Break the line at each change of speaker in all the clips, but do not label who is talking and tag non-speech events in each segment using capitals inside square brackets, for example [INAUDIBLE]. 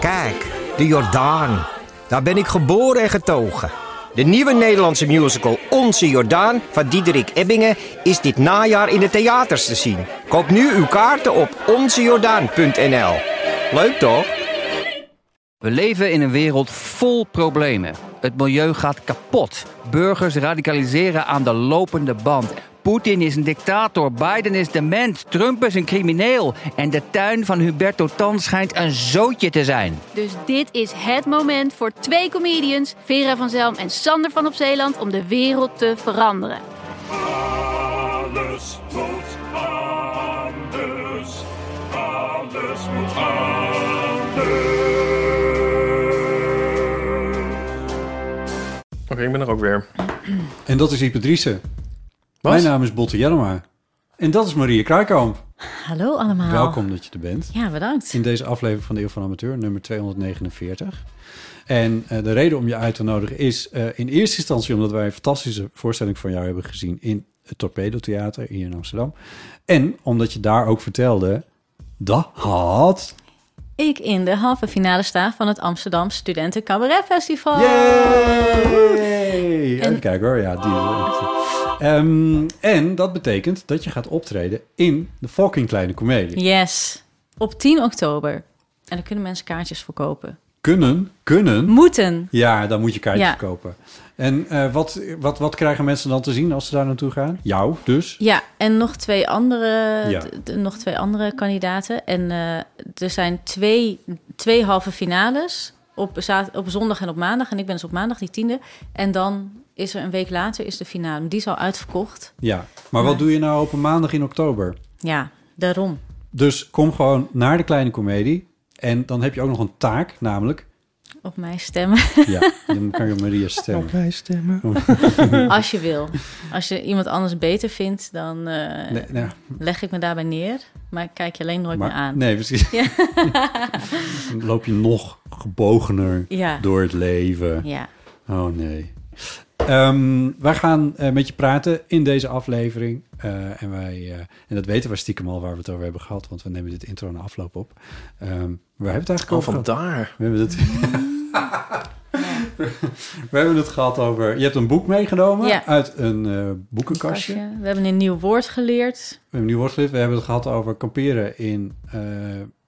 Kijk, de Jordaan. Daar ben ik geboren en getogen. De nieuwe Nederlandse musical Onze Jordaan van Diederik Ebbingen is dit najaar in de theaters te zien. Koop nu uw kaarten op onzejordaan.nl. Leuk toch?
We leven in een wereld vol problemen. Het milieu gaat kapot. Burgers radicaliseren aan de lopende band. Poetin is een dictator, Biden is dement, Trump is een crimineel. En de tuin van Huberto Tan schijnt een zootje te zijn.
Dus dit is het moment voor twee comedians, Vera van Zelm en Sander van op Zeeland, om de wereld te veranderen.
Alles moet anders. Alles moet anders.
Oké, ik ben er ook weer.
En dat is Ipe Driessen. Mijn naam
Oh,
is Botte Jellema. En dat is Maria Kruikamp.
Hallo allemaal.
Nou.
Welkom dat je er bent.
Ja, bedankt.
In deze aflevering van de Eeuw van Amateur, nummer 249. En eh, de reden om je uit te nodigen is eh, in eerste instantie omdat wij een fantastische voorstelling van jou hebben gezien in het Torpedo Theater hier in Amsterdam. En omdat je daar ook vertelde dat had.
Ik in de halve finale sta van het Amsterdam Studenten Cabaret Festival.
Yay! Even kijken hoor, ja. Die, Ehm, en dat betekent dat je gaat optreden in de fucking kleine comedie.
Yes. Op 10 oktober. En daar kunnen mensen kaartjes voor kopen.
Kunnen, kunnen.
Moeten.
Ja, dan moet je kaartjes
Ja.
kopen. En eh, wat, wat, wat krijgen mensen dan te zien als ze daar naartoe gaan? Jou dus.
Ja, en nog twee andere,
Ja.
d- d- nog twee andere kandidaten. En eh, er zijn twee, twee halve finales op, za- op zondag en op maandag. En ik ben dus op maandag die tiende. En dan is er een week later is de finale. Maar Die is al uitverkocht.
Ja. Maar wat doe je nou op een maandag in oktober?
Ja, daarom.
Dus kom gewoon naar de kleine comedie. En dan heb je ook nog een taak,
[LAUGHS]
namelijk...
Op mij stemmen.
Ja, dan kan je op Maria stemmen.
[LAUGHS] Als je wil. Als je iemand anders beter vindt, dan eh,
Nee, nee,
leg ik me daarbij neer. Maar ik kijk je alleen nooit meer
maar,
aan.
nee, precies. [LAUGHS] Dan loop je nog gebogener
Ja.
door het leven.
Ja.
Oh nee. Ehm, wij gaan eh, met je praten in deze aflevering. Eh, en, wij, eh, en dat weten we stiekem al waar we het over hebben gehad, want we nemen dit intro na afloop op. Ehm, waar hebben we het eigenlijk
Kom
over gehad?
Oh, vandaar.
We hebben, het, [LAUGHS] we hebben het gehad over. Je hebt een boek meegenomen
Ja.
uit een eh, boekenkastje. We
We hebben een nieuw woord geleerd.
hebben nu woordgelid. We hebben het gehad over kamperen in eh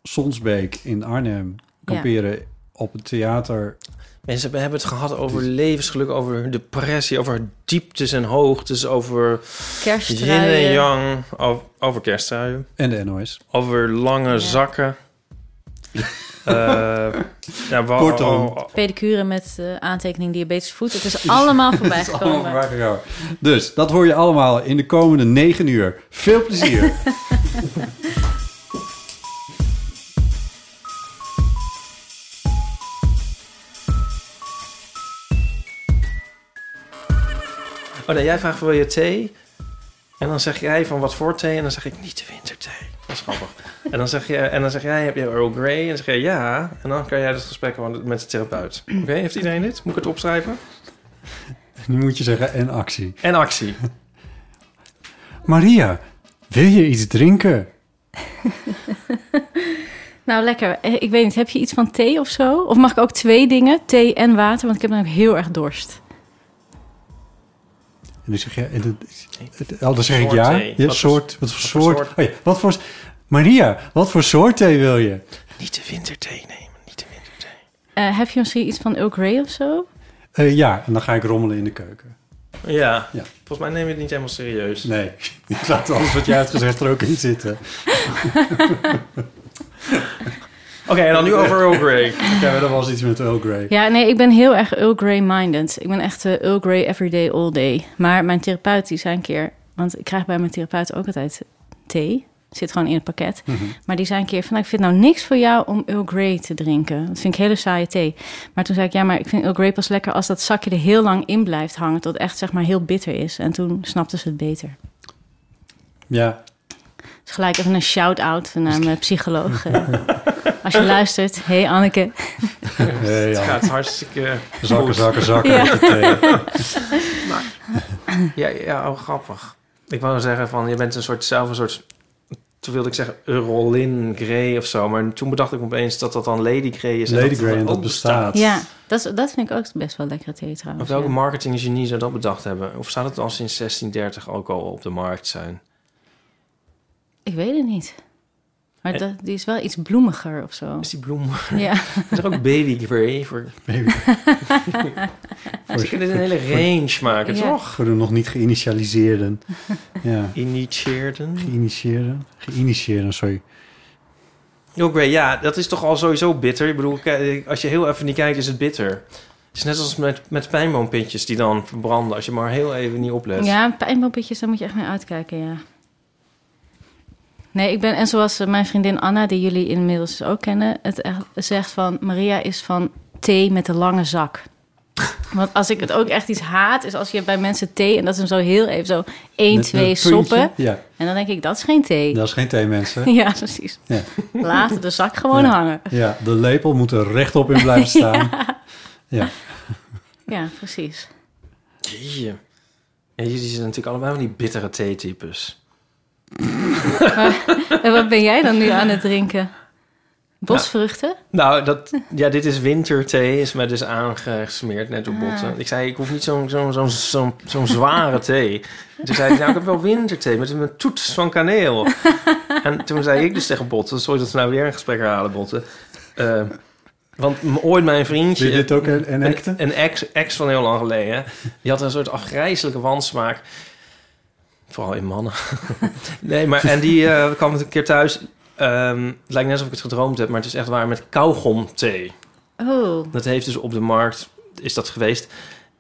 Sonsbeek in Arnhem. Kamperen op het theater.
Mensen, we hebben het gehad over levensgeluk, over depressie, over dieptes en hoogtes, over yin en
Kersttruien.
yang, over, over kerstruien,
En de NOS.
over lange
Ja.
[LAUGHS]
zakken. Eh, ja, wa-
Kortom.
oh, oh,
Pedicure met eh, aantekening diabetes voet. Het
[LAUGHS]
is allemaal voorbij
Het is allemaal
gekomen.
voorbij gekomen. Dus dat hoor je allemaal in de komende negen uur. Veel plezier.
oh nee, jij vraagt wil je thee? En dan zeg jij van wat voor thee? En dan zeg ik niet de winterthee. Dat is grappig. en, dan zeg jij, en dan zeg jij, heb je Earl Grey? En dan zeg jij ja. En dan kan jij het gesprek gewoon met de therapeut. [CLEARS THROAT] Oké, heeft iedereen dit? Moet ik het opschrijven?
[LAUGHS] nu moet je zeggen en actie.
En actie.
Maria, wil je iets drinken?
Nou, lekker. Eh, Ik weet niet, heb je iets van thee of zo? Of mag ik ook twee dingen? Thee en water, want ik heb dan ook heel erg dorst.
En dan zeg je, en dat is- het- oh, dan zeg ik
Soort
ja.
thee.
ja
Wat voor-
soort, wat voor
voor
soort?
soort?
oh ja, wat voor? Maria, wat voor soort thee wil je?
Niet de winterthee nemen, niet de winterthee.
Eh, heb je misschien iets van Earl Grey of zo?
Eh, ja, en dan ga ik rommelen in de keuken.
Ja,
Ja.
volgens mij neem je het niet helemaal serieus.
Nee, [LAUGHS] ik laat alles wat jij hebt gezegd er ook in zitten.
Oké, en dan nu over Earl Grey.
Oké, maar dat was iets met Earl Grey.
Ja, nee, ik ben heel erg Earl Grey-minded. Ik ben echt eh, Earl Grey everyday, all day. Maar mijn therapeut, die zei een keer... Want ik krijg bij mijn therapeut ook altijd thee. Zit gewoon in het pakket. Maar die zei een keer van... nou, ik vind het nou niks voor jou om Earl Grey te drinken. Dat vind ik hele saaie thee. Maar toen zei ik... Ja, maar ik vind Earl Grey pas lekker... als dat zakje er heel lang in blijft hangen... tot het echt, zeg maar, heel bitter is. En toen snapte ze het beter.
Ja,
Dus gelijk even een shout-out naar mijn psycholoog. eh. Als je luistert, hey Anneke.
hey,
Het
Eh, ja.
gaat hartstikke
zakken,
goed.
zakken, zakken.
Ja.
met je thee.
Ja, ja, oh, grappig. Ik wou zeggen van, je bent een soort, zelf een soort Toen wilde ik zeggen Eurolin Grey of zo. Maar toen bedacht ik me opeens dat dat dan Lady Grey is. en
Lady
dat
Grey, en
ook
dat bestaat.
Ja, dat, is- dat vind ik ook best wel lekker thee
Of
trouwens.
welke
ja.
marketinggenie zou dat bedacht hebben? Of zou dat al sinds 1630 ook al op de markt zijn?
Ik weet het niet. Maar
Eh.
dat, die is wel iets bloemiger of zo.
Is die bloem... [LAUGHS]
[LAUGHS]
[LAUGHS] Ja.
Is er ook Baby Grey voor?
Baby.
[LAUGHS] Ze kunnen een hele range maken,
Ja.
toch?
Voor de nog niet
[LAUGHS]
geïnitieerden. Ja,
Initieerden.
geïnitieerden. Geïnitieerden, sorry.
Earl Grey, ja, dat is toch al sowieso bitter. Ik bedoel, kijk, als je heel even niet kijkt, is het bitter. Het is net als met, met pijnboompintjes die dan verbranden... als je maar heel even niet oplet.
Ja, pijnboompjes, daar moet je echt mee uitkijken, ja. Nee, ik ben, en zoals eh, mijn vriendin Anna, die jullie inmiddels ook kennen, het echt zegt van: Maria is van thee met de lange
[LAUGHS]
zak. Want als ik het ook echt iets haat, is als je bij mensen thee en dat is hem zo heel even zo 1,
Met een
2
puntje.
soppen.
Ja,
En dan denk ik: dat is geen thee.
dat is geen thee, mensen.
[LAUGHS] Ja, precies.
Ja.
Laat de zak gewoon
Ja.
hangen.
Ja, de lepel moet er rechtop in
[LAUGHS]
blijven staan. Ja,
Ja, precies.
Jeetje. Ja, jullie zijn natuurlijk allemaal van die bittere theetypes.
En wat ben jij dan nu aan het drinken? Bosvruchten?
Nou, dat, ja, dit is winterthee, is mij dus aangesmeerd net op botten. Ik zei, ik hoef niet zo'n zo'n zo'n zo'n zo'n zware thee. Toen zei hij, nou, ik heb wel winterthee met een toets van kaneel. En toen zei ik dus tegen botten, sorry dat we nou weer een gesprek herhalen, botten. Eh, want m- ooit mijn vriendje...
wil je dit ook en- enacten?
Een, een ex, ex van heel lang geleden. Die had een soort afgrijzelijke wansmaak. Vooral in mannen. [LAUGHS] nee, maar en die eh, kwam een keer thuis. Ehm, het lijkt net alsof ik het gedroomd heb, maar het is echt waar met kauwgomthee.
Oh,
Dat heeft dus op de markt, is dat geweest.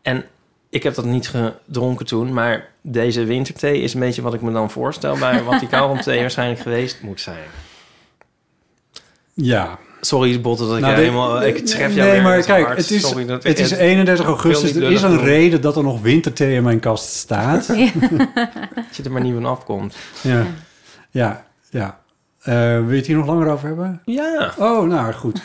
En ik heb dat niet gedronken toen, maar deze winterthee is een beetje wat ik me dan voorstel bij wat
[LAUGHS]
die kauwgomthee waarschijnlijk geweest moet zijn.
Ja.
Sorry, Botte, dat ik
Nou,
jou
dit-
helemaal... Ik tref jou
nee,
weer
maar
met
kijk,
hart.
het is,
Sorry dat ik-
het is 31 augustus.
niet
Er is
lullig
een
doen.
reden dat er nog winterthee in mijn kast
[LAUGHS]
staat.
dat je er maar niet van afkomt.
Ja, ja, ja. Eh, wil je het hier nog langer over hebben?
Ja.
Oh, nou goed.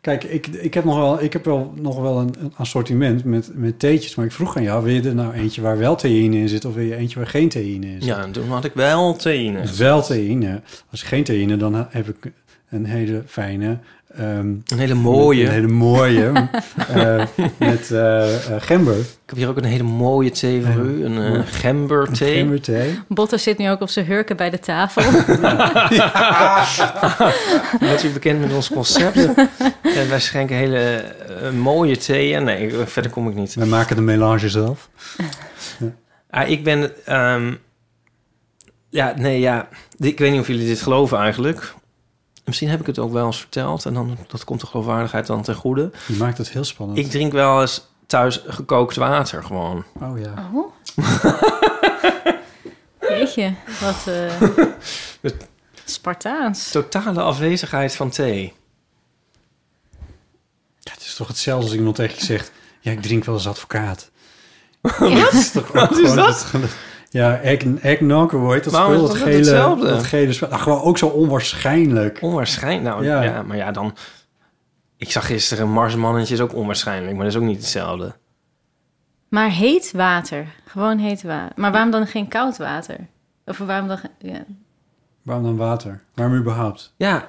Kijk, ik, ik heb nog wel, ik heb wel, nog wel een, een assortiment met, met theetjes. Maar ik vroeg aan jou, wil je er nou eentje waar wel theïne in zit... of wil je eentje waar geen theïne in zit?
Ja, en toen had ik wel tenen.
Wel theïne. Als ik geen theïne, dan heb ik een hele fijne... ehm,
Een hele mooie.
Een hele
[LAUGHS]
mooie. eh, met eh, eh, gember.
Ik heb hier ook een hele mooie thee voor
Hele
u. Een eh,
mooie.
gember gemberthee.
Gemberthee.
Botter zit nu ook op zijn hurken bij de
[LAUGHS]
tafel.
Bent u bekend met ons [LAUGHS] concept? Eh, wij schenken hele eh, mooie thee. Nee, ik- verder kom ik niet.
Wij maken de melange zelf.
Ah, ik ben... ehm, ja, nee, ja. Ik weet niet of jullie dit geloven eigenlijk. Misschien heb ik het ook wel eens verteld. En dan, dat komt de geloofwaardigheid dan ten goede.
Je maakt het heel spannend.
Ik drink wel eens thuis gekookt water gewoon.
Oh ja.
Oh. Jeetje, wat eh,
[LAUGHS]
Spartaans.
Totale afwezigheid van thee.
Ja, Het is toch hetzelfde als iemand tegen je zegt... Ja, ik drink wel eens
[LAUGHS]
advocaat. dat is toch ook
Wat is
gewoon
dat?
het- Ja, egg- eggnog, hoe heet dat
Waarom
spul?
is
Dat
dat
gele,
hetzelfde?
dat gele spel. Nou, gewoon ook zo onwaarschijnlijk.
Onwaarschijnlijk. Nou
Ja.
ja. maar ja, dan. Ik zag gisteren Marsmannetje is ook onwaarschijnlijk, maar dat is ook niet hetzelfde.
Maar heet water. Gewoon heet water. Maar waarom dan geen koud water? Of waarom dan... ge- Ja.
Waarom dan water? Waarom überhaupt?
Ja,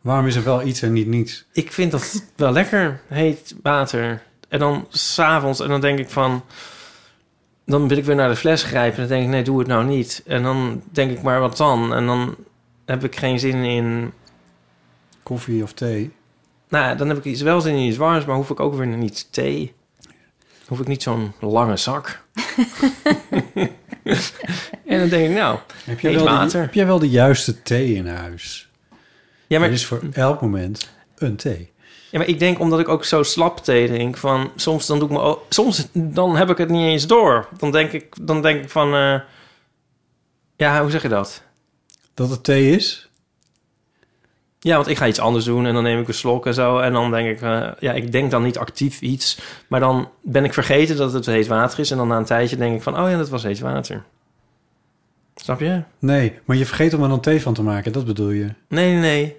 Waarom is er wel iets en niet niets?
ik vind dat wel lekker, heet water. En dan s'avonds, en dan denk ik van. Dan wil ik weer naar de fles grijpen. En dan denk ik, nee, doe het nou niet. En dan denk ik, maar wat dan? En dan heb ik geen zin in.
Koffie of thee?
Nou, ja, dan heb ik iets- wel zin in iets warms, maar hoef ik ook weer niet thee. Hoef ik niet zo'n lange [LAUGHS] zak. en dan denk ik, nou,
Heb jij,
Heet
wel de,
water.
heb jij wel de juiste thee in huis?
ja, maar
Er is voor elk moment een thee.
Ja, maar ik denk omdat ik ook zo slap thee drink van soms dan doe ik me o- soms dan heb ik het niet eens door. Dan denk ik dan denk ik van eh, ja, hoe zeg je dat?
Dat het thee is?
Ja, want ik ga iets anders doen en dan neem ik een slok en zo en dan denk ik eh, ja, ik denk dan niet actief iets, maar dan ben ik vergeten dat het heet water is en dan na een tijdje denk ik van oh ja, dat was heet water. Snap je?
Nee, maar je vergeet om er dan thee van te maken. Dat bedoel je.
Nee, nee, nee.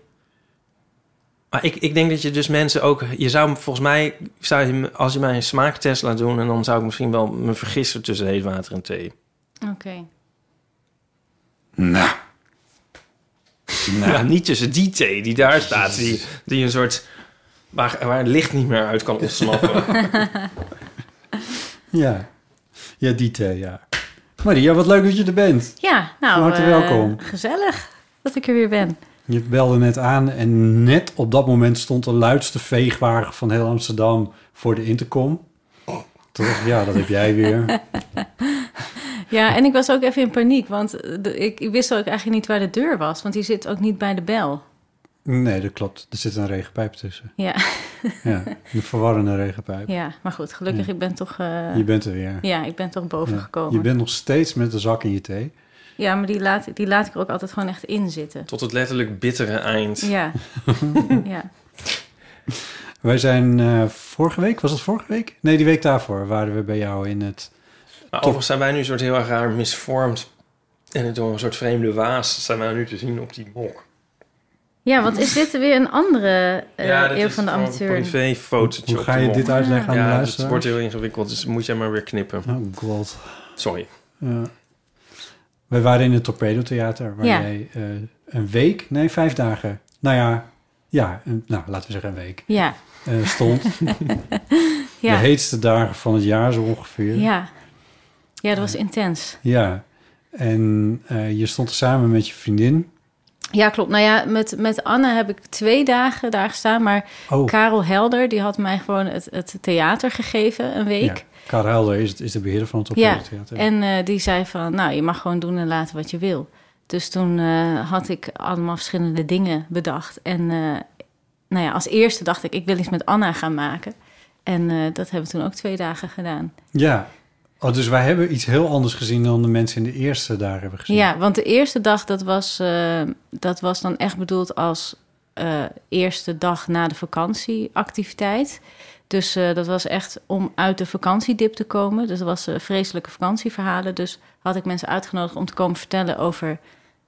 Maar ik, ik denk dat je dus mensen ook... Je zou volgens mij... Zou je, me- als je mij een smaaktest laat doen... en dan zou ik misschien wel me vergissen tussen heet water en thee.
Oké.
Nou.
Nou, niet tussen die thee die daar staat, die, die een soort. Waar, waar het licht niet meer uit kan ontsnappen.
[LAUGHS] Ja. Ja, die thee, ja. Maria, wat leuk dat je er bent.
Ja, nou.
Van harte
eh,
welkom.
Gezellig dat ik er weer ben.
Je belde net aan en net op dat moment stond de luidste veegwagen van heel Amsterdam voor de intercom. Toen dacht ik, ja, dat heb jij
[LAUGHS]
weer.
Ja, en ik was ook even in paniek, want eh, de- ik, ik wist ook eigenlijk niet waar de deur was, want die zit ook niet bij de bel.
Nee, dat klopt. Er zit een regenpijp tussen.
Ja,
Ja, een verwarrende regenpijp.
ja maar goed, gelukkig, ik ben toch, eh,
Je bent er weer.
ja, ik ben toch boven
Ja.
gekomen.
Je bent nog steeds met de zak in je thee.
Ja, maar die laat, die laat ik er ook altijd gewoon echt in zitten.
Tot het letterlijk bittere eind.
[LAUGHS]
Ja, ja.
Wij zijn eh, vorige week, was dat vorige week? Nee, die week daarvoor waren we bij jou in het...
Maar overigens zijn wij nu een soort heel erg raar misvormd. En het door een soort vreemde waas zijn wij nu te zien op die mok.
ja, want is dit weer een andere eh, eeuw van de
gewoon
amateur?
een privéfotootje
Hoe
op
ga
de
je
mok.
dit uitleggen aan de
Ja, dus het
luisteraar?
wordt heel ingewikkeld, dus moet jij maar weer knippen.
Oh god.
Sorry.
Ja. Eh, Wij waren in het Torpedo Theater, waar
Ja.
jij eh, een week, nee, vijf dagen. Nou ja, ja een- nou, laten we zeggen een week.
Ja,
eh,
[LAUGHS]
stond. De
ja,
heetste dagen van het jaar zo ongeveer.
ja. Ja, dat was intens.
Ja. En eh, je stond er samen met je vriendin.
Ja, klopt. Nou ja, met, met Anne heb ik twee dagen daar gestaan, maar
Oh,
Karel Helder, die had mij gewoon het, het theater gegeven een
ja.
week.
Karel Helder is, is de beheerder van het Torpedo
Ja,
Theater.
en eh, die zei van, nou, je mag gewoon doen en laten wat je wil. Dus toen eh, had ik allemaal verschillende dingen bedacht. En eh, nou ja, als eerste dacht ik, ik wil iets met Anna gaan maken. En eh, dat hebben we toen ook twee dagen gedaan.
Ja. Oh, dus wij hebben iets heel anders gezien dan de mensen in de eerste daar hebben gezien.
Ja, want de eerste dag, dat was, eh, dat was dan echt bedoeld als eh, eerste dag na de vakantieactiviteit. Dus eh, dat was echt om uit de vakantiedip te komen. Dus dat was eh, vreselijke vakantieverhalen. Dus had ik mensen uitgenodigd om te komen vertellen over,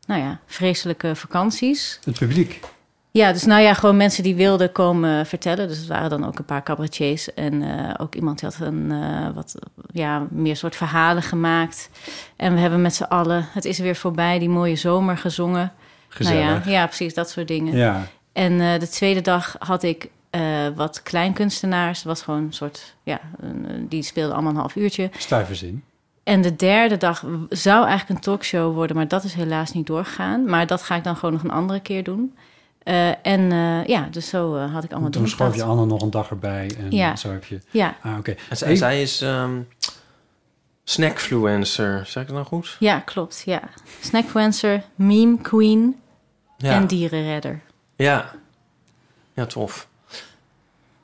nou ja, vreselijke vakanties.
Het publiek.
Ja, dus nou ja, gewoon mensen die wilden komen vertellen. Dus het waren dan ook een paar cabaretiers. En eh, ook iemand die had een, eh, wat, ja, meer soort verhalen gemaakt. En we hebben met z'n allen, het is weer voorbij, die mooie zomer gezongen.
Gezellig.
Nou ja, ja, precies, dat soort dingen.
ja.
En eh, de tweede dag had ik eh, wat kleinkunstenaars. Dat was gewoon een soort, ja, een- die speelden allemaal een half uurtje. Oh,
Stuiverzin.
En de derde dag w- zou eigenlijk een talkshow worden, maar dat is helaas niet doorgegaan. Maar dat ga ik dan gewoon nog een andere keer doen. Eh, en eh, ja, dus zo eh, had ik allemaal
Toen
doen
schoof je
dat.
Anne nog een dag erbij. En
Ja.
zo heb je...
Ja,
Ah, oké.
En zij,
Even-
zij is ehm, snackfluencer. Zeg ik dat nou goed?
ja, klopt. Ja. Snackfluencer, meme queen
Ja.
en dierenredder.
Ja. Ja, tof.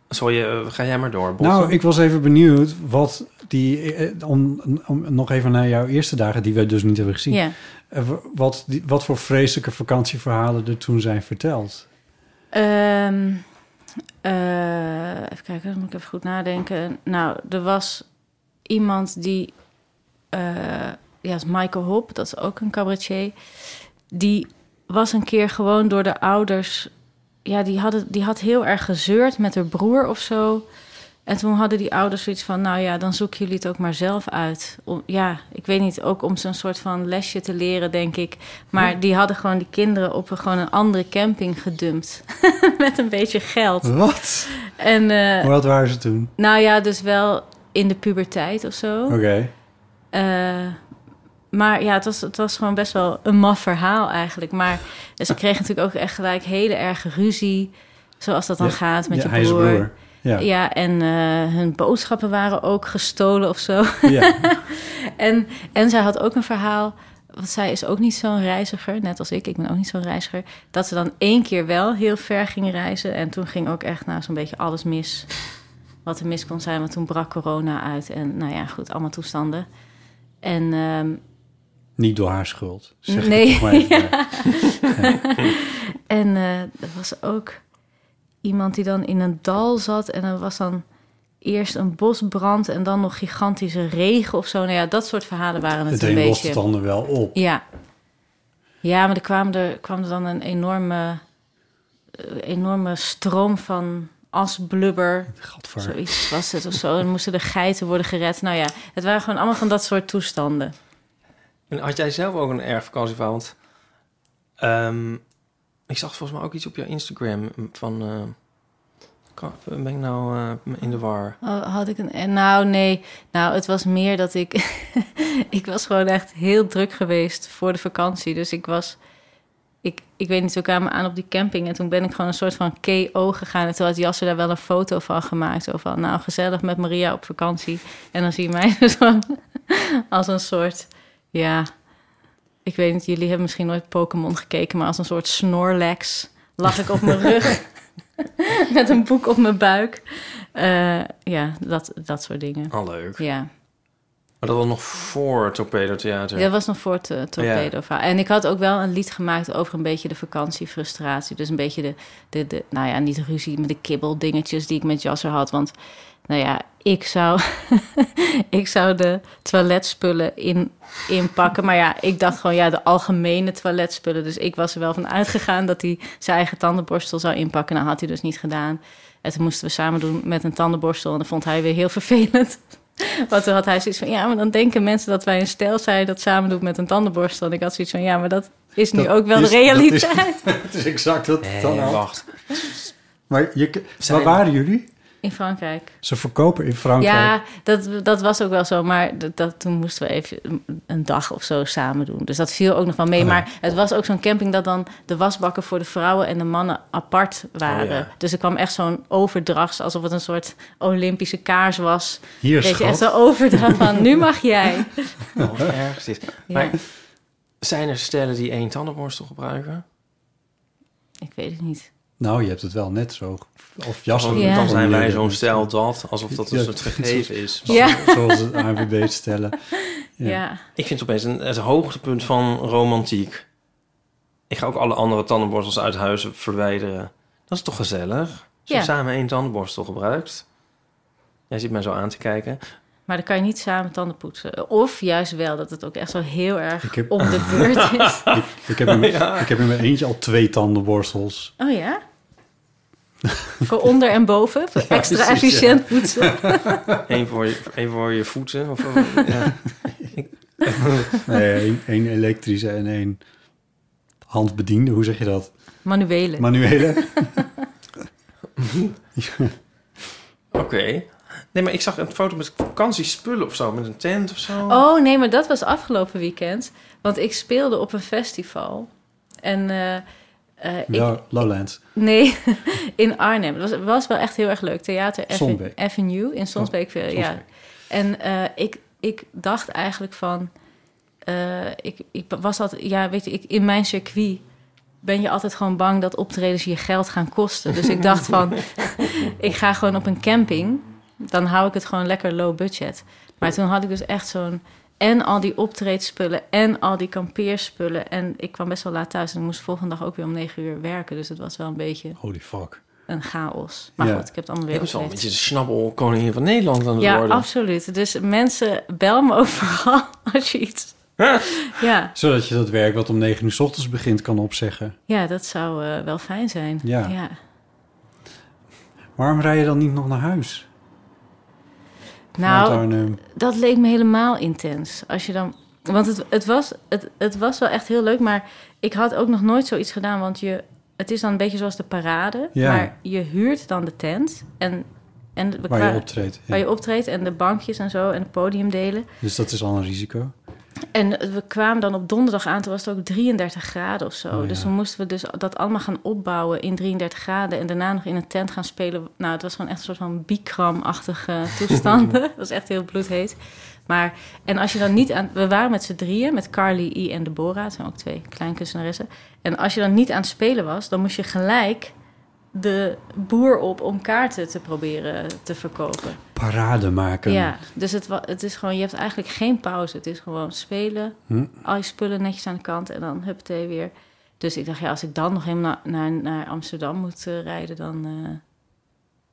Sorry, eh, ga jij maar door, Botte.
Nou, ik was even benieuwd wat die... eh, Om, om nog even naar jouw eerste dagen, die we dus niet hebben gezien.
Ja.
Eh, w- Wat, die, wat voor vreselijke vakantieverhalen er toen zijn verteld.
Ehm, eh, even kijken, dan moet ik even goed nadenken. Nou, er was iemand die... eh, ja, dat is Michael Hop, dat is ook een cabaretier. Die was een keer gewoon door de ouders... Ja, die, hadden, die had heel erg gezeurd met haar broer of zo. En toen hadden die ouders zoiets van... nou ja, dan zoeken jullie het ook maar zelf uit. Om, ja, ik weet niet, ook om zo'n soort van lesje te leren, denk ik. Maar die hadden gewoon die kinderen op een, gewoon een andere camping gedumpt. [LAUGHS] met een beetje geld.
Wat?
En eh,
Hoe oud waren ze toen?
nou ja, dus wel in de puberteit of zo.
Oké.
Eh, maar ja, het was, het was gewoon best wel een maf verhaal eigenlijk. Maar dus ze kregen natuurlijk ook echt gelijk hele erge ruzie. Zoals dat dan
Ja,
gaat met
Ja,
je
hij is
broer.
broer. Ja.
Ja. en eh, hun boodschappen waren ook gestolen of zo.
ja. [LAUGHS]
En, en zij had ook een verhaal. Want zij is ook niet zo'n reiziger, net als ik. Ik ben ook niet zo'n reiziger. Dat ze dan één keer wel heel ver ging reizen. En toen ging ook echt nou, zo'n beetje alles mis. Wat er mis kon zijn. Want toen brak corona uit. En nou ja, goed, allemaal toestanden. En ehm,
Niet door haar schuld. Zeg ik
Nee.
toch maar
[LAUGHS]
even.
En eh, er was ook iemand die dan in een dal zat. En er was dan eerst een bosbrand en dan nog gigantische regen of zo. Nou ja, dat soort verhalen waren het,
Het
een
een lost
beetje.
het ander wel op.
Ja. ja, maar er kwam er, kwam er dan een enorme, eh, enorme stroom van asblubber.
Gadver.
Zoiets was het of zo. En moesten de geiten worden gered. Nou ja, het waren gewoon allemaal van dat soort toestanden.
En had jij zelf ook een erg vakantieverhaal? Want ehm, Ik zag volgens mij ook iets op jouw Instagram van... eh, kan- ben ik nou eh, in de war?
Oh, had ik een. eh, Nou, nee. Nou, het was meer dat ik. [LAUGHS] ik was gewoon echt heel druk geweest voor de vakantie. Dus ik was. Ik, ik weet niet, we kwamen aan op die camping. En toen ben ik gewoon een soort van KO gegaan. En toen had Jasser daar wel een foto van gemaakt. Zo van, nou, gezellig met Maria op vakantie. En dan zie je mij [LAUGHS] dus gewoon als een soort. Ja. Ik weet niet, jullie hebben misschien nooit Pokémon gekeken. Maar als een soort Snorlax lag ik op mijn rug. [LAUGHS] met een boek op mijn buik. Eh, ja, dat, dat soort dingen.
Al Oh, leuk.
Ja.
Maar dat was nog voor Torpedo Theater.
dat was nog voor het eh, torpedo verhaal. En ik had ook wel een lied gemaakt over een beetje de vakantiefrustratie. Dus een beetje de, de, de nou ja, niet de ruzie, maar de kibbeldingetjes die ik met Jasser had. Want, nou ja, ik zou, [LAUGHS] ik zou de toiletspullen in, inpakken. Maar ja, ik dacht gewoon, ja, de algemene toiletspullen. Dus ik was er wel van uitgegaan dat hij zijn eigen tandenborstel zou inpakken. Nou, had hij dus niet gedaan. En toen moesten we samen doen met een tandenborstel. En dat vond hij weer heel vervelend. [LAUGHS] Want toen had hij zoiets van, ja, maar dan denken mensen dat wij een stijl zijn dat samen doet met een tandenborstel. En ik had zoiets van, ja, maar dat is nu
Dat
ook wel
is-
de
dat is-
realiteit.
[LAUGHS] Het is exact wat
Eh,
het dan al.
wacht.
Maar je, k-
Zijn-
waar waren jullie?
In Frankrijk.
Ze verkopen in Frankrijk.
Ja, dat, dat was ook wel zo. Maar dat, dat, toen moesten we even een- een dag of zo samen doen. Dus dat viel ook nog wel mee. Maar het was ook zo'n camping dat dan de wasbakken voor de vrouwen en de mannen apart waren.
Oh ja.
Dus er kwam echt zo'n overdrachts, alsof het een soort Olympische kaars was.
Hier
Weet je, echt
schat.
zo'n overdracht van, nu mag jij. [LAUGHS]
Oh, erg dit.
Ja,
Maar zijn er stellen die één tandenborstel gebruiken?
ik weet het niet.
Nou, je hebt het wel net zo. Of jassen.
Oh, Dan,
Ja.
dan zijn wij zo'n stijl dat, alsof dat
Ja.
dus het gegeven is.
Ja,
Zoals het ANWB stellen. Ja.
ja.
Ik vind het opeens een, het hoogtepunt van romantiek. Ik ga ook alle andere tandenborstels uit huis verwijderen. Dat is toch gezellig? Als je
Ja.
samen één tandenborstel gebruikt. Jij zit mij zo aan te kijken.
Maar dan kan je niet samen tanden poetsen. Of juist wel, dat het ook echt zo heel erg
Ik heb-
om de beurt is.
Ik, heb in,
[LAUGHS]
mijn- ik heb in mijn eentje al twee tandenborstels.
Oh ja? [LAUGHS] voor onder en boven? Voor extra
precies,
efficiënt poetsen?
Eén voor je, één voor je voeten. Of,
[LAUGHS]
voor- ja.
Nee, één- één elektrische en één handbediende. Hoe zeg je dat?
Manuele. [LAUGHS]
Manuele.
Oké. Nee, maar ik zag een foto met vakantiespullen of zo. Met een tent of zo.
Oh nee, maar dat was afgelopen weekend. Want ik speelde op een festival. En eh, eh, ik,
Ja, Lowlands.
nee, [LAUGHS] in Arnhem. Het was, was wel echt heel erg leuk. Theater Ave-
Sonsbeek.
Avenue in Sonsbeek. eh, ja.
Oh, Sonsbeek.
En eh, ik, ik dacht eigenlijk van... eh, ik, ik was dat, ja, weet je, ik, in mijn circuit ben je altijd gewoon bang dat optredens je geld gaan kosten. Dus ik dacht
[LAUGHS]
van, ik ga gewoon op een camping. Dan hou ik het gewoon lekker low budget. Maar toen had ik dus echt zo'n... En al die optreedspullen en al die kampeerspullen. En ik kwam best wel laat thuis en ik moest de volgende dag ook weer om negen uur werken. Dus het was wel een beetje
Holy fuck.
een chaos. Maar
Ja.
goed, ik heb het allemaal
Ik
weer
was wel een
opgelegd.
beetje de snabbel koningin van Nederland aan het
Ja,
worden.
absoluut. Dus mensen, bel me [LAUGHS] overal als je iets... ja.
Zodat je dat werk wat om negen uur s ochtends begint kan opzeggen.
ja, dat zou eh, wel fijn zijn.
Ja. Waarom rij je dan niet nog naar huis?
Nou,
Vanuit Arnhem.
dat leek me helemaal intens. Als je dan, want het, het, was, het, het was wel echt heel leuk, maar ik had ook nog nooit zoiets gedaan. Want je, het is dan een beetje zoals de parade.
Ja.
Maar je huurt dan de tent en, en we
waar
kwa-
je optreedt. ja.
waar je optreedt en de bankjes en zo en het podiumdelen.
Dus dat is al een risico.
En we kwamen dan op donderdag aan, toen was het ook 33 graden of zo.
Oh, ja.
Dus toen moesten we dus dat allemaal gaan opbouwen in 33 graden. En daarna nog in een tent gaan spelen. Nou, het was gewoon echt een soort van
[LAUGHS]
biekramachtige toestanden. Het was echt heel bloedheet. Maar, en als je dan niet aan... We waren met z'n drieën, met Carly, I en Deborah. Het zijn ook twee kleinkunstenaressen. En als je dan niet aan het spelen was, dan moest je gelijk de boer op om kaarten te proberen te verkopen.
Parade maken.
Ja, dus het, wa- het is gewoon, je hebt eigenlijk geen pauze. Het is gewoon spelen, al je spullen netjes aan de kant en dan huppatee weer. Dus ik dacht, ja, als ik dan nog helemaal na- naar, naar Amsterdam moet eh, rijden, dan... eh,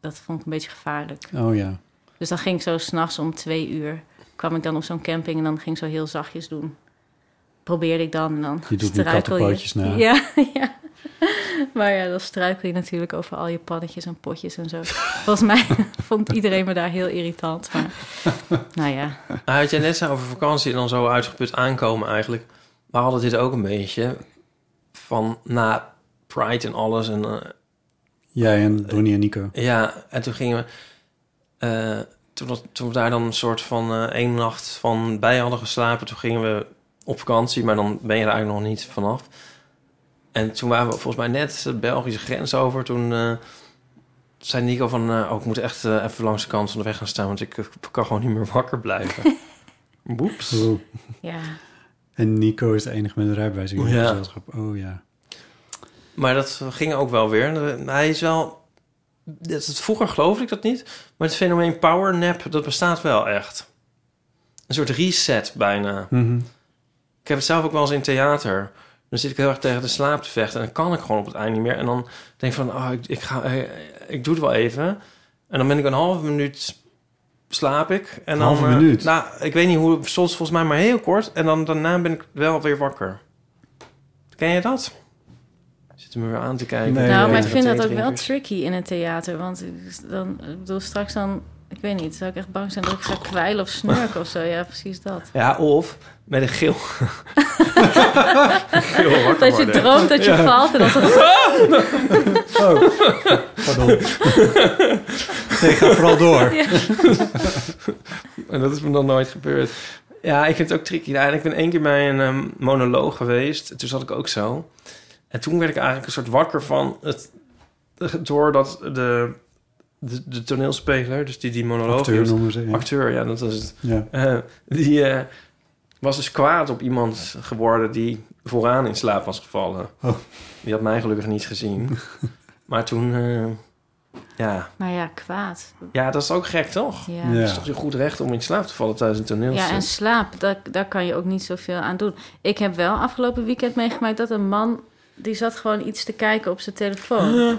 dat vond ik een beetje gevaarlijk.
Oh ja.
Dus dan ging ik zo s'nachts om twee uur, kwam ik dan op zo'n camping en dan ging ik zo heel zachtjes doen. Probeerde ik dan en dan
Je doet nu
struikel
kattenpootjes na.
Ja, [LAUGHS] ja. Maar ja, dan struikel je natuurlijk over al je pannetjes en
[LAUGHS]
potjes en zo. Volgens mij [LAUGHS] vond iedereen me daar heel irritant.
[LAUGHS]
Maar nou ja,
Nou, had jij net zo over vakantie en dan zo uitgeput aankomen eigenlijk. We hadden dit ook een beetje van na Pride en alles. En, eh,
Jij en Donnie en Nico.
ja, en toen gingen we... eh, toen, dat- toen we daar dan een soort van eh, één nacht van bij hadden geslapen... toen gingen we op vakantie, maar dan ben je er eigenlijk nog niet vanaf. En toen waren we volgens mij net de Belgische grens over. Toen eh, zei Nico van... eh, oh, ik moet echt eh, even langs de kant van de weg gaan staan... want ik eh, kan gewoon niet meer wakker blijven. Boeps.
Oeh.
Ja.
En Nico is de enige met een rijbewijs in het
Ja.
gezelschap. Oh ja.
Maar dat ging ook wel weer. En, eh, Hij is wel... dat- dat- vroeger geloofde ik dat niet. Maar het fenomeen powernap, dat bestaat wel echt. Een soort reset bijna.
Mhm.
Ik heb het zelf ook wel eens in theater. Dan zit ik heel erg tegen de slaap te vechten. En dan kan ik gewoon op het eind niet meer. En dan denk ik van, oh, ik, ik, ga, eh, ik doe het wel even. En dan ben ik een halve minuut... Slaap ik. En dan,
Halve
eh,
minuut?
nou, ik weet niet hoe... Soms volgens mij maar heel kort. En dan daarna ben ik wel weer wakker. Ken je dat? Zit hem weer aan te kijken.
Nee,
nou,
ja,
maar
ja.
ik vind dat ook
Theedrinkers.
wel tricky in het theater. Want ik- dan, ik bedoel, straks dan... Ik weet niet, zou ik echt bang zijn dat ik ga kwijlen of snurken of zo. Ja, precies dat.
Ja, of met een
[LAUGHS]
geel. geel wakker
Dat je
worden.
droomt dat je valt en dat
[LAUGHS]
het... [LAUGHS]
Oh, pardon. Nee, ga vooral door.
En dat is me nog nooit gebeurd. Ja, ik vind het ook tricky. Ja, en ik ben één keer bij een ehm, monoloog geweest. En Toen zat ik ook zo. En toen werd ik eigenlijk een soort wakker van het... Doordat de, de, de toneelspeler, dus die die monoloog
Acteur
hield-
noemen ze. Ja.
Acteur, ja, dat is het.
[LAUGHS]
Ja.
Eh, die eh, was dus kwaad op iemand geworden die vooraan in slaap was gevallen.
Oh.
Die had mij gelukkig niet
[LAUGHS]
gezien. maar toen, eh, ja.
Maar ja, kwaad.
ja, dat is ook gek toch?
Ja.
Ja.
Het is toch je goed recht om in slaap te vallen tijdens een toneelstuk?
Ja, en slaap, daar, daar kan je ook niet zoveel aan doen. Ik heb wel afgelopen weekend meegemaakt dat een man... die zat gewoon iets te kijken op zijn telefoon.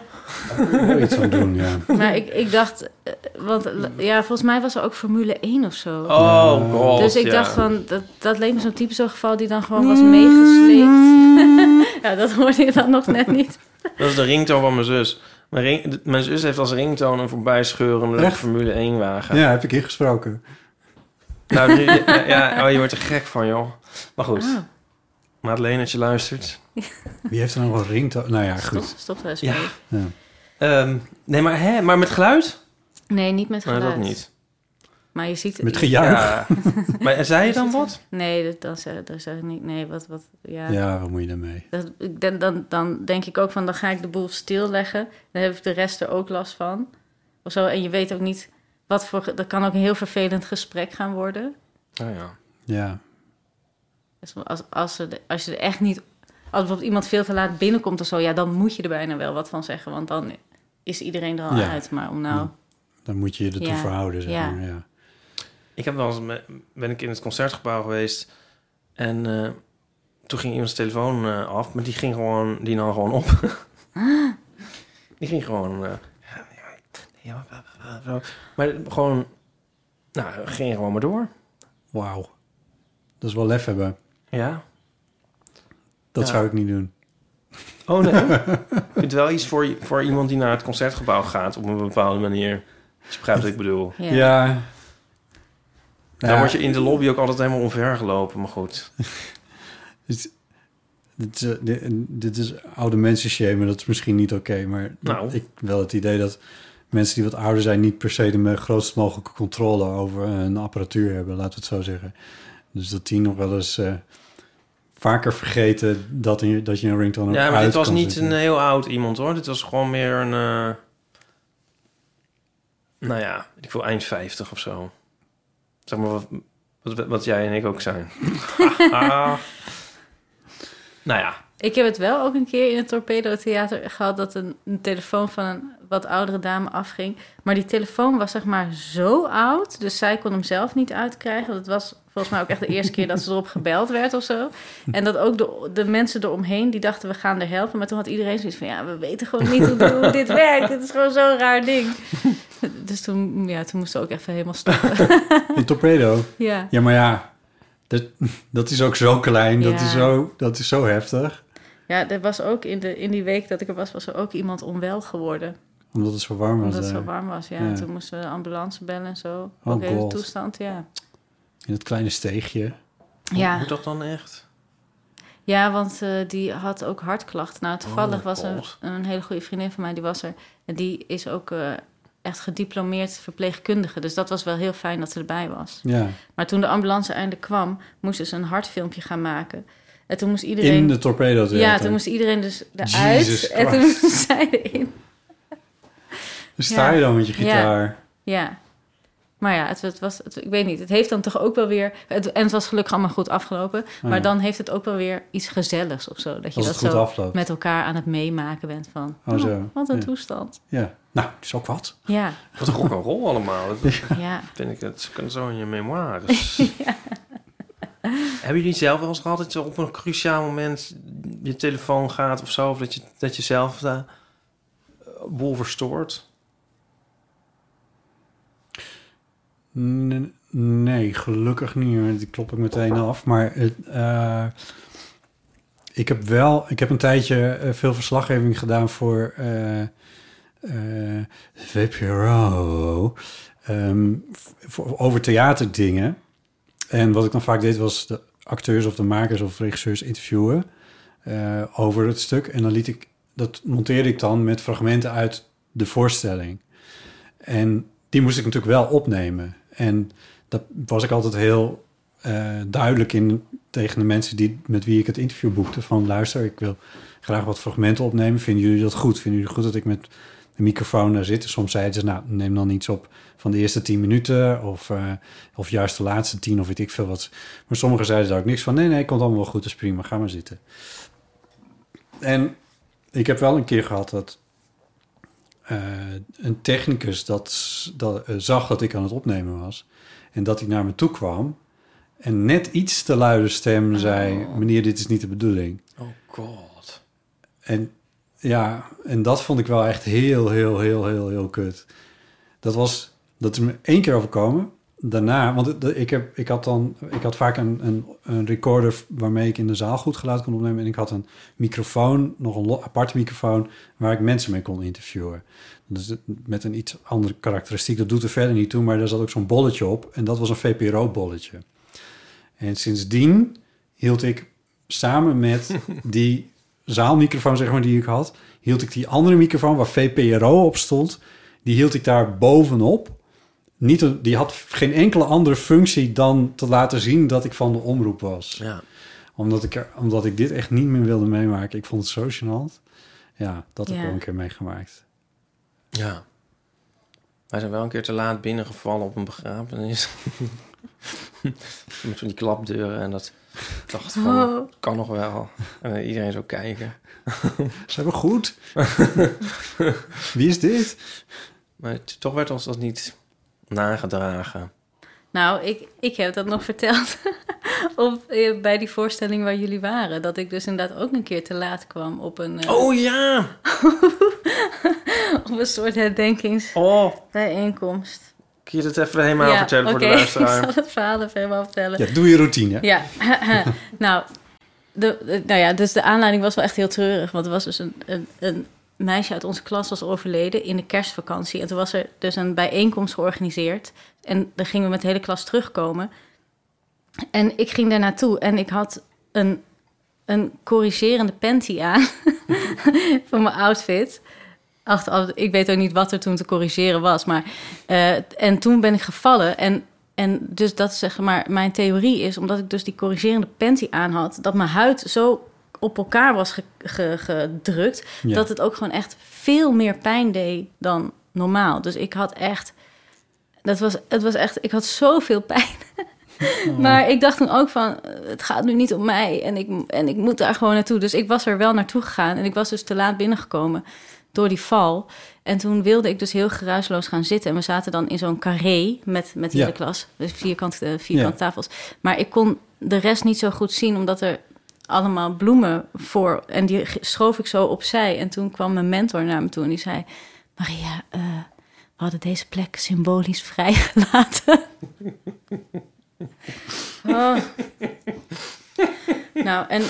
Wil iets aan doen, ja.
Maar ik, ik dacht... eh, Want ja, volgens mij was er ook Formule 1 of zo.
Oh god,
dus ik
ja.
dacht van, dat, dat leek me zo'n type zo'n geval... die dan gewoon was meegesleept. [LAUGHS] ja, dat hoorde je dan nog net niet.
Dat is de ringtoon van mijn zus. Mijn, ring- de- mijn zus heeft als ringtoon een voorbijscheurende
Echt?
Formule 1 wagen.
Ja, heb ik ingesproken.
Nou, nu- ja, ja, oh, je wordt er gek van, joh. Maar goed,
Ah,
Madeleine, als je luistert...
Wie heeft er nou wel ringtoon? Nou ja,
stop,
goed.
stop daar eens
Ja.
mee.
Ehm, nee, maar, hè, maar met geluid?
Nee, niet met
Nee,
geluid.
dat [LAUGHS] niet.
Maar je ziet...
Met gejuich.
maar zei je dan wat?
Nee, dat, dan zou, dan zou ik niet... Nee, wat... wat
Ja. wat moet je daarmee?
Dat, ik denk- dan, dan denk ik ook van, dan ga ik de boel stilleggen. Dan heb ik de rest er ook last van. Of zo. En je weet ook niet wat voor... ge- Dat kan ook een heel vervelend gesprek gaan worden.
Oh, ja.
Ja.
Dus als, als, ze de- als je er echt niet... Als bijvoorbeeld iemand veel te laat binnenkomt of zo... Ja, dan moet je er bijna wel wat van zeggen. Want dan is iedereen er al
Ja.
uit. Maar om nou...
Dan moet je je ertoe
Ja.
verhouden, zeg
Ja.
maar. Ja.
Ik heb wel eens me- ben ik in het concertgebouw geweest en eh, toen ging iemands telefoon eh, af, maar die ging gewoon, die nam gewoon [LAUGHS] op. die ging gewoon, eh, ja, ja, ja, ja, zo. maar gewoon, nou, ging gewoon maar door.
Wauw. Dat is wel lef hebben.
Ja.
Dat
Ja.
zou ik niet doen.
Oh nee. [LAUGHS] Ik vind het wel iets voor, i- voor iemand die naar het concertgebouw gaat op een bepaalde manier. Als je begrijpt wat ik bedoel.
Ja.
Ja.
Dan word je in de lobby ook altijd helemaal omvergelopen, maar goed.
Dit, is, eh, dit, dit is oude mensen shamen, dat is misschien niet oké, maar
Nou.
ik heb wel het idee dat mensen die wat ouder zijn niet per se de me- grootst mogelijke controle over hun apparatuur hebben, laten we het zo zeggen. Dus dat die nog wel eens eh, vaker vergeten dat, in, dat je een ringtone ook
Ja, maar
uit
dit was
kan
niet
zetten.
een heel oud iemand hoor. Dit was gewoon meer een. eh, nou ja, ik wil eind 50 of zo. Zeg maar wat, wat, wat jij en ik ook
[LAUGHS]
zijn. Haha. nou ja,
Ik heb het wel ook een keer in het Torpedo Theater gehad... dat een, een telefoon van een wat oudere dame afging. Maar die telefoon was zeg maar zo oud... dus zij kon hem zelf niet uitkrijgen. Dat was volgens mij ook echt de eerste keer dat ze erop gebeld werd of zo. En dat ook de, de mensen eromheen, die dachten we gaan er helpen. Maar toen had iedereen zoiets van... ja, we weten gewoon niet hoe, hoe dit werkt. Dit is gewoon zo'n raar ding. Dus toen, ja, toen moesten we ook even helemaal stoppen.
eh,
Een torpedo.
Ja.
Ja, maar ja, dat, [LAUGHS] dat is ook zo klein, dat,
Ja.
is zo, dat is zo heftig,
ja, er was ook in, de, in die week dat ik er was... was er ook iemand onwel geworden.
omdat het zo warm was. eh,
Omdat het
daar.
zo warm was, ja.
Ja.
Toen moesten we de ambulance bellen en zo.
Oh,
ook hele
God.
toestand, ja.
In het kleine steegje.
hoe
Ja.
moet dat dan echt?
Ja, want eh, die had ook hartklachten. Nou, toevallig
Oh,
was een,
God.
een hele goede vriendin van mij, die was er. En die is ook eh, echt gediplomeerd verpleegkundige. Dus dat was wel heel fijn dat ze erbij was.
Ja.
Maar toen de ambulance eindelijk kwam, moesten ze dus een hartfilmpje gaan maken. En toen moest iedereen...
In de torpedo
ja, toen moest iedereen dus eruit.
Jesus
en toen
Christ.
moest [LAUGHS] zij erin.
Sta je
Ja.
dan met je gitaar?
Ja. Maar ja, het, het was, het- ik weet niet. Het heeft dan toch ook wel weer. Het, en het was gelukkig allemaal goed afgelopen. maar
Oh ja.
dan heeft het ook wel weer iets gezelligs of zo. Dat je
Als
dat
het goed
zo
afloopt.
met elkaar aan het meemaken bent van.
Oh,
oh,
zo.
wat een
Ja.
toestand.
Ja. Nou, dat is ook wat.
Ja,
Wat een rock'n'roll allemaal. Dat
[LAUGHS]
ja.
vind ik, het kan zo in je memoires. Hebben jullie zelf wel eens gehad dat je op een cruciaal moment je telefoon gaat of zo? Of dat je, dat je zelf de boel verstoort?
Nee, nee, gelukkig niet. want Die klop ik meteen af. Maar het, eh, ik heb wel... Ik heb een tijdje eh, veel verslaggeving gedaan voor eh eh, VPRO. ehm, v- voor, over theaterdingen. En wat ik dan vaak deed was de acteurs of de makers of regisseurs interviewen eh, over het stuk. En dan liet ik... Dat monteerde ik dan met fragmenten uit de voorstelling. En die moest ik natuurlijk wel opnemen. En dat was ik altijd heel eh, duidelijk in tegen de mensen die, met wie ik het interview boekte. Van luister, ik wil graag wat fragmenten opnemen. Vinden jullie dat goed? Vinden jullie goed dat ik met de microfoon daar zit? Soms zeiden ze, nou neem dan iets op van de eerste tien minuten. Of, eh, of juist de laatste tien of weet ik veel wat. Maar sommigen zeiden daar ook niks van. Nee, nee, komt allemaal wel goed. Dat is prima. Ga maar zitten. En ik heb wel een keer gehad dat eh, een technicus dat, dat, eh, zag dat ik aan het opnemen was. En dat hij naar me toe kwam. En net iets te luide stem zei: Meneer, dit is niet de bedoeling.
Oh god.
En ja, en dat vond ik wel echt heel, heel, heel, heel, heel kut. Dat was, dat is me één keer overkomen. Daarna, want het- ik, heb, ik had dan, ik had vaak een, een, een recorder waarmee ik in de zaal goed geluid kon opnemen. En ik had een microfoon, nog een lo- aparte microfoon, waar ik mensen mee kon interviewen. Dus het- met een iets andere karakteristiek. Dat doet er verder niet toe, maar daar zat ook zo'n bolletje op. En dat was een VPRO-bolletje. En sindsdien hield ik samen [LAUGHS] met die zaalmicrofoon, zeg maar, die ik had, hield ik die andere microfoon waar VPRO op stond, die hield ik daar bovenop. Niet een- die had geen enkele andere functie dan te laten zien dat ik van de omroep was.
Ja.
Omdat ik, er- omdat ik dit echt niet meer wilde meemaken. Ik vond het zo gênant. Ja, dat heb ik
Ja.
wel een keer meegemaakt.
Ja. Wij zijn wel een keer te laat binnengevallen op een begrafenis. [LAUGHS] Met van die klapdeuren en dat ik dacht van,
Oh.
kan nog wel. En dan iedereen zo kijken.
Zijn we goed? [LAUGHS] Wie is dit?
Maar het- toch werd ons dat niet nagedragen.
Nou, ik, ik heb dat nog verteld [LAUGHS] op, eh, bij die voorstelling waar jullie waren. Dat ik dus inderdaad ook een keer te laat kwam op een, eh,
Oh ja!
[LAUGHS] op een soort herdenkingsbijeenkomst.
Oh, kun je dat even helemaal vertellen voor de
oké, [LAUGHS] ik
luisteraar?
zal het verhaal even helemaal vertellen.
Ja, doe je routine.
Ja, [LAUGHS] nou, de, de- nou ja, dus de aanleiding was wel echt heel treurig. Want er was dus een, een, een meisje uit onze klas was overleden in de kerstvakantie. En toen was er dus een bijeenkomst georganiseerd. En dan gingen we met de hele klas terugkomen. En ik ging daar naartoe en ik had een, een corrigerende panty aan [LAUGHS] van mijn outfit. Ach, al- ik weet ook niet wat er toen te corrigeren was. Maar, eh, en toen ben ik gevallen. En, en dus dat is zeg maar mijn theorie is, omdat ik dus die corrigerende panty aan had, dat mijn huid zo op elkaar was ge- ge- gedrukt,
Ja.
dat het ook gewoon echt veel meer pijn deed dan normaal. Dus ik had echt, dat was, het was echt, ik had zoveel pijn. Maar ik dacht toen ook van, eh, het gaat nu niet om mij en ik, en ik moet daar gewoon naartoe. Dus ik was er wel naartoe gegaan en ik was dus te laat binnengekomen door die val. En toen wilde ik dus heel geruisloos gaan zitten. En we zaten dan in zo'n carré met, met de
Ja.
hele klas. Dus vierkant, eh, vierkant
Ja.
tafels. Maar ik kon de rest niet zo goed zien, omdat er allemaal bloemen voor... En die g- schoof ik zo opzij. En toen kwam mijn mentor naar me toe en die zei... Maria, eh, we hadden deze plek symbolisch vrijgelaten. [LAUGHS] Oh. Nou, en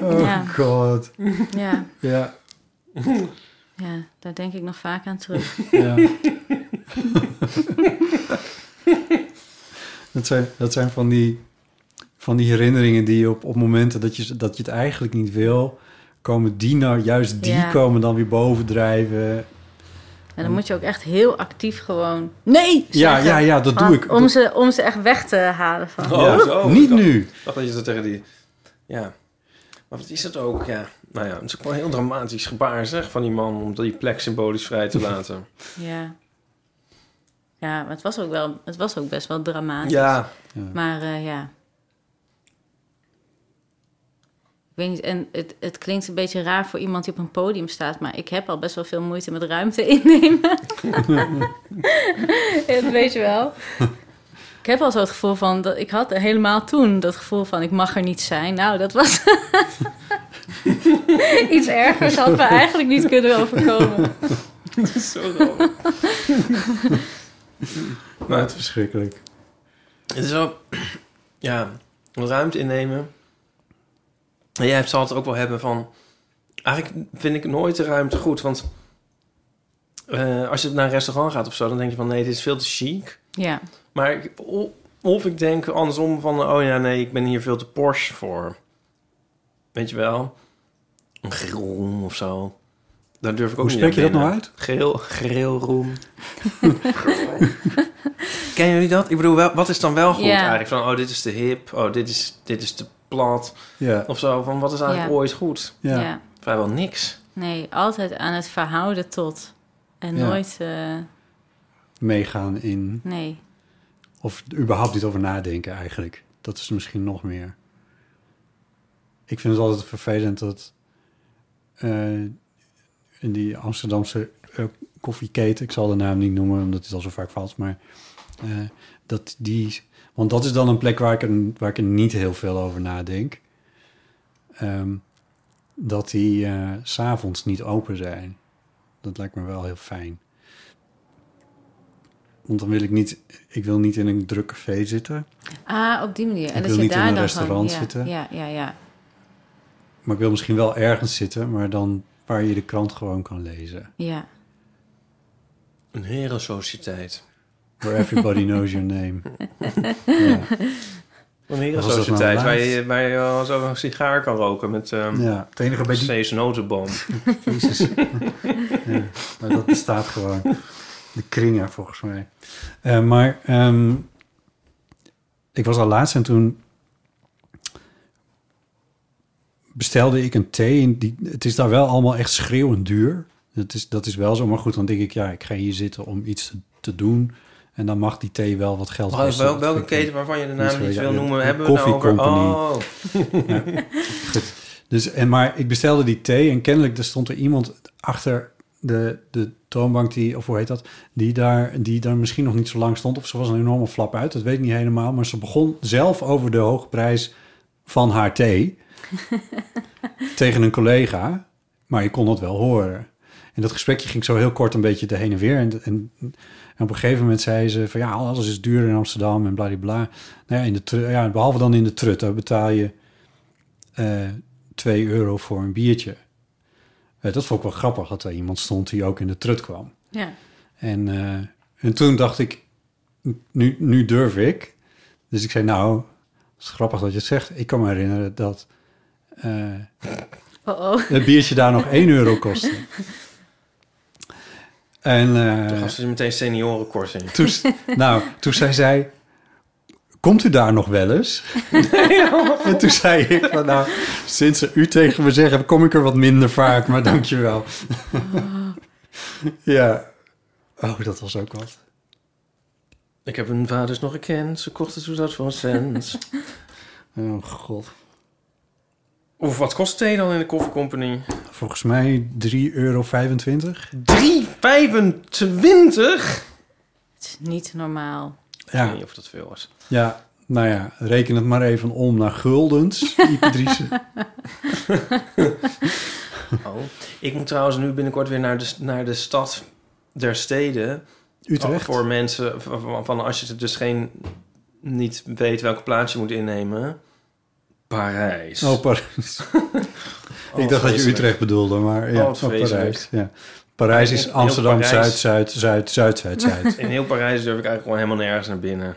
Oh
Ja.
god.
ja,
Ja,
ja, daar denk ik nog vaak aan terug. [LAUGHS]
ja. dat, zijn, dat zijn van die van die herinneringen die je op, op momenten dat je, dat je het eigenlijk niet wil, komen die nou, juist die
Ja.
komen dan weer bovendrijven.
En dan moet je ook echt heel actief gewoon... Nee!
Ja,
zeggen.
ja, ja, dat
Want-
doe ik.
Om
Dat-
ze, om ze echt weg te halen van...
Oh,
Ja,
zo.
niet
Ik dacht-
nu.
Ik dacht dat je dat tegen die... Ja. Maar wat is dat ook? Ja. Nou ja, het is ook wel een heel dramatisch gebaar, zeg, van die man... om die plek symbolisch vrij te laten.
Ja. Ja, maar het was ook, wel, het was ook best wel
[LAUGHS]
dramatisch.
ja.
Maar eh, ja. Ik weet niet, en het, het klinkt een beetje raar voor iemand die op een podium staat, maar ik heb al best wel veel moeite met ruimte [LAUGHS] innemen. Ja, dat weet je wel. Ik heb al zo het gevoel van, dat, ik had helemaal toen dat gevoel van, ik mag er niet zijn. Nou, dat was [LAUGHS] iets ergers, had me eigenlijk niet kunnen overkomen.
Zo raar. [LAUGHS] maar het,
Verschrikkelijk.
het is wel... Ja, ruimte innemen. En jij zal het ook wel hebben van... Eigenlijk vind ik nooit de ruimte goed, want... eh, als je naar een restaurant gaat of zo, dan denk je van... nee, dit is veel te chic.
Ja,
Maar ik- o- of ik denk andersom van... oh ja, nee, ik ben hier veel te Porsche voor. Weet je wel? Een grillroom of zo. Daar durf ik ook
Hoe
niet
spreek
aan
je dat nou
binnen.
uit?
Grill,
[LAUGHS]
grillroom. Kennen jullie dat? Ik bedoel, wel, wat is dan wel goed
Ja.
eigenlijk? Van, oh, dit is te hip. Oh, dit is, dit is te plat.
Ja,
Of zo, van wat is eigenlijk
Ja.
ooit goed?
ja.
ja.
Vrijwel niks.
Nee, altijd aan het verhouden tot. En
Ja.
nooit, eh,
meegaan in.
nee.
Of überhaupt niet over nadenken eigenlijk. Dat is misschien nog meer. Ik vind het altijd vervelend dat eh, in die Amsterdamse eh, koffieketen, ik zal de naam niet noemen omdat het al zo vaak valt, maar eh, dat die, want dat is dan een plek waar ik er, waar ik er niet heel veel over nadenk. Ehm, dat die eh, s s'avonds niet open zijn. Dat lijkt me wel heel fijn. Want dan wil ik niet, ik wil niet in een druk café zitten.
Ah, op die manier. En
Ik
dat
wil
je
niet
daar
in een
dan gewoon,
restaurant
ja,
zitten.
Ja, ja, ja.
Maar ik wil misschien wel ergens zitten, maar dan waar je de krant gewoon kan lezen.
ja.
Een herensociëteit.
Where everybody knows your name.
Een
was dat nou
herensociëteit waar
laatst?
je, waar je wel zo een sigaar kan roken met ehm
Ja, het enige bij die...
steeds een notenboom.
Jezus. [LAUGHS] ja, maar dat bestaat gewoon. De kringen, volgens mij. Eh, maar ehm, ik was al laatst en toen bestelde ik een thee. En die, het is daar wel allemaal echt schreeuwend duur. Dat is, dat is wel zo, maar goed, dan denk ik, ja, ik ga hier zitten om iets te, te doen. En dan mag die thee wel wat geld
Oh,
kosten.
wel,
Dat
welke
vind ik dan-
keten waarvan je de
Niet
naam
zo,
niet
ja,
wil
ja,
noemen,
een
hebben we het nou over?
koffie company.
Oh,
Dus, en, maar ik bestelde die thee en kennelijk er stond er iemand achter de, de toonbank, die, of hoe heet dat, die daar, die daar misschien nog niet zo lang stond. Of ze was een enorme flap uit, dat weet ik niet helemaal. Maar ze begon zelf over de hoge prijs van haar thee tegen een collega. Maar je kon dat wel horen. En dat gesprekje ging zo heel kort een beetje de heen en weer. En, en, en op een gegeven moment zei ze van ja, alles is duur in Amsterdam en bladibla. Nou ja, in de, tru- ja, behalve dan in de trut, daar betaal je eh 2 euro voor een biertje. Eh, dat vond ik wel grappig dat er iemand stond die ook in de trut kwam.
ja.
En, eh, en toen dacht ik, nu, nu durf ik. Dus ik zei, nou, het is grappig dat je het zegt. Ik kan me herinneren dat eh,
Oh, oh.
het biertje daar nog 1 euro kostte. En, eh,
Toen gaf ze meteen seniorenkorting.
toen, s- nou, toen zij zei, komt u daar nog wel eens? en toen zei ik, van, nou, sinds ze u tegen me zeggen, kom ik er wat minder vaak, maar dankjewel. ja, oh, dat was ook wat.
Ik heb hun vaders nog gekend, ze kochten toen dat voor een
[LAUGHS]
cent.
Oh god.
Of wat kost thee dan in de koffiecompany?
Volgens mij 3,25 euro.
3,25?
Het is niet normaal.
Ik
Ja,
weet niet of dat veel
[LAUGHS]
was.
ja, nou ja, reken het maar even om naar guldens. Ipatrice.
Oh. Ik moet trouwens nu binnenkort weer naar de, naar de stad der steden. [LAUGHS]
Utrecht.
Oh, Voor mensen van, van- van als je het dus geen, niet weet welke plaats je moet innemen. Parijs.
Oh, Parijs. ik dacht dat je
vreselijk.
Utrecht bedoelde, maar ja,
Oh, wat
oh, Parijs.
vreselijk.
Ja. Parijs is
Heel
Amsterdam,
Parijs.
Zuid, Zuid, Zuid, Zuid, Zuid,
[LAUGHS]
Zuid.
In heel Parijs durf ik eigenlijk gewoon helemaal nergens naar binnen.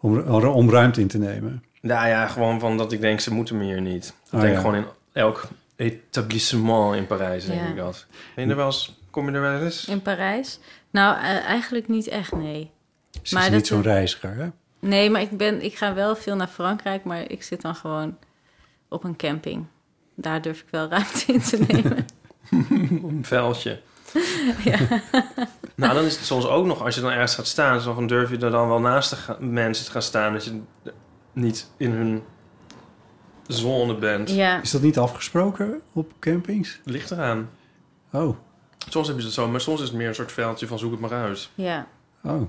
om, om ruimte in te nemen.
Nou ja, gewoon van dat ik denk, ze moeten me hier niet. Ik
Oh,
denk
ja.
gewoon in elk etablissement in Parijs, denk
Ja.
ik dat. Ben je er wel eens, kom je er wel eens?
In Parijs? Nou, eh, eigenlijk niet echt, nee.
Ze
Maar
is
dat
niet zo'n
we-
reiziger, hè?
Nee, maar ik, ben, ik ga wel veel naar Frankrijk, maar ik zit dan gewoon op een camping. Daar durf ik wel [LAUGHS] ruimte in te
[LAUGHS]
nemen.
Een
[LAUGHS]
veldje. [LAUGHS] nou, dan is het soms ook nog, als je dan ergens gaat staan... zo van durf je er dan wel naast de ga- mensen te gaan staan... dat je niet in hun zone bent.
ja,
Is dat niet afgesproken op campings?
Ligt eraan.
Oh,
Soms hebben ze het zo, maar soms is het meer een soort veldje van zoek het maar uit.
ja.
oh.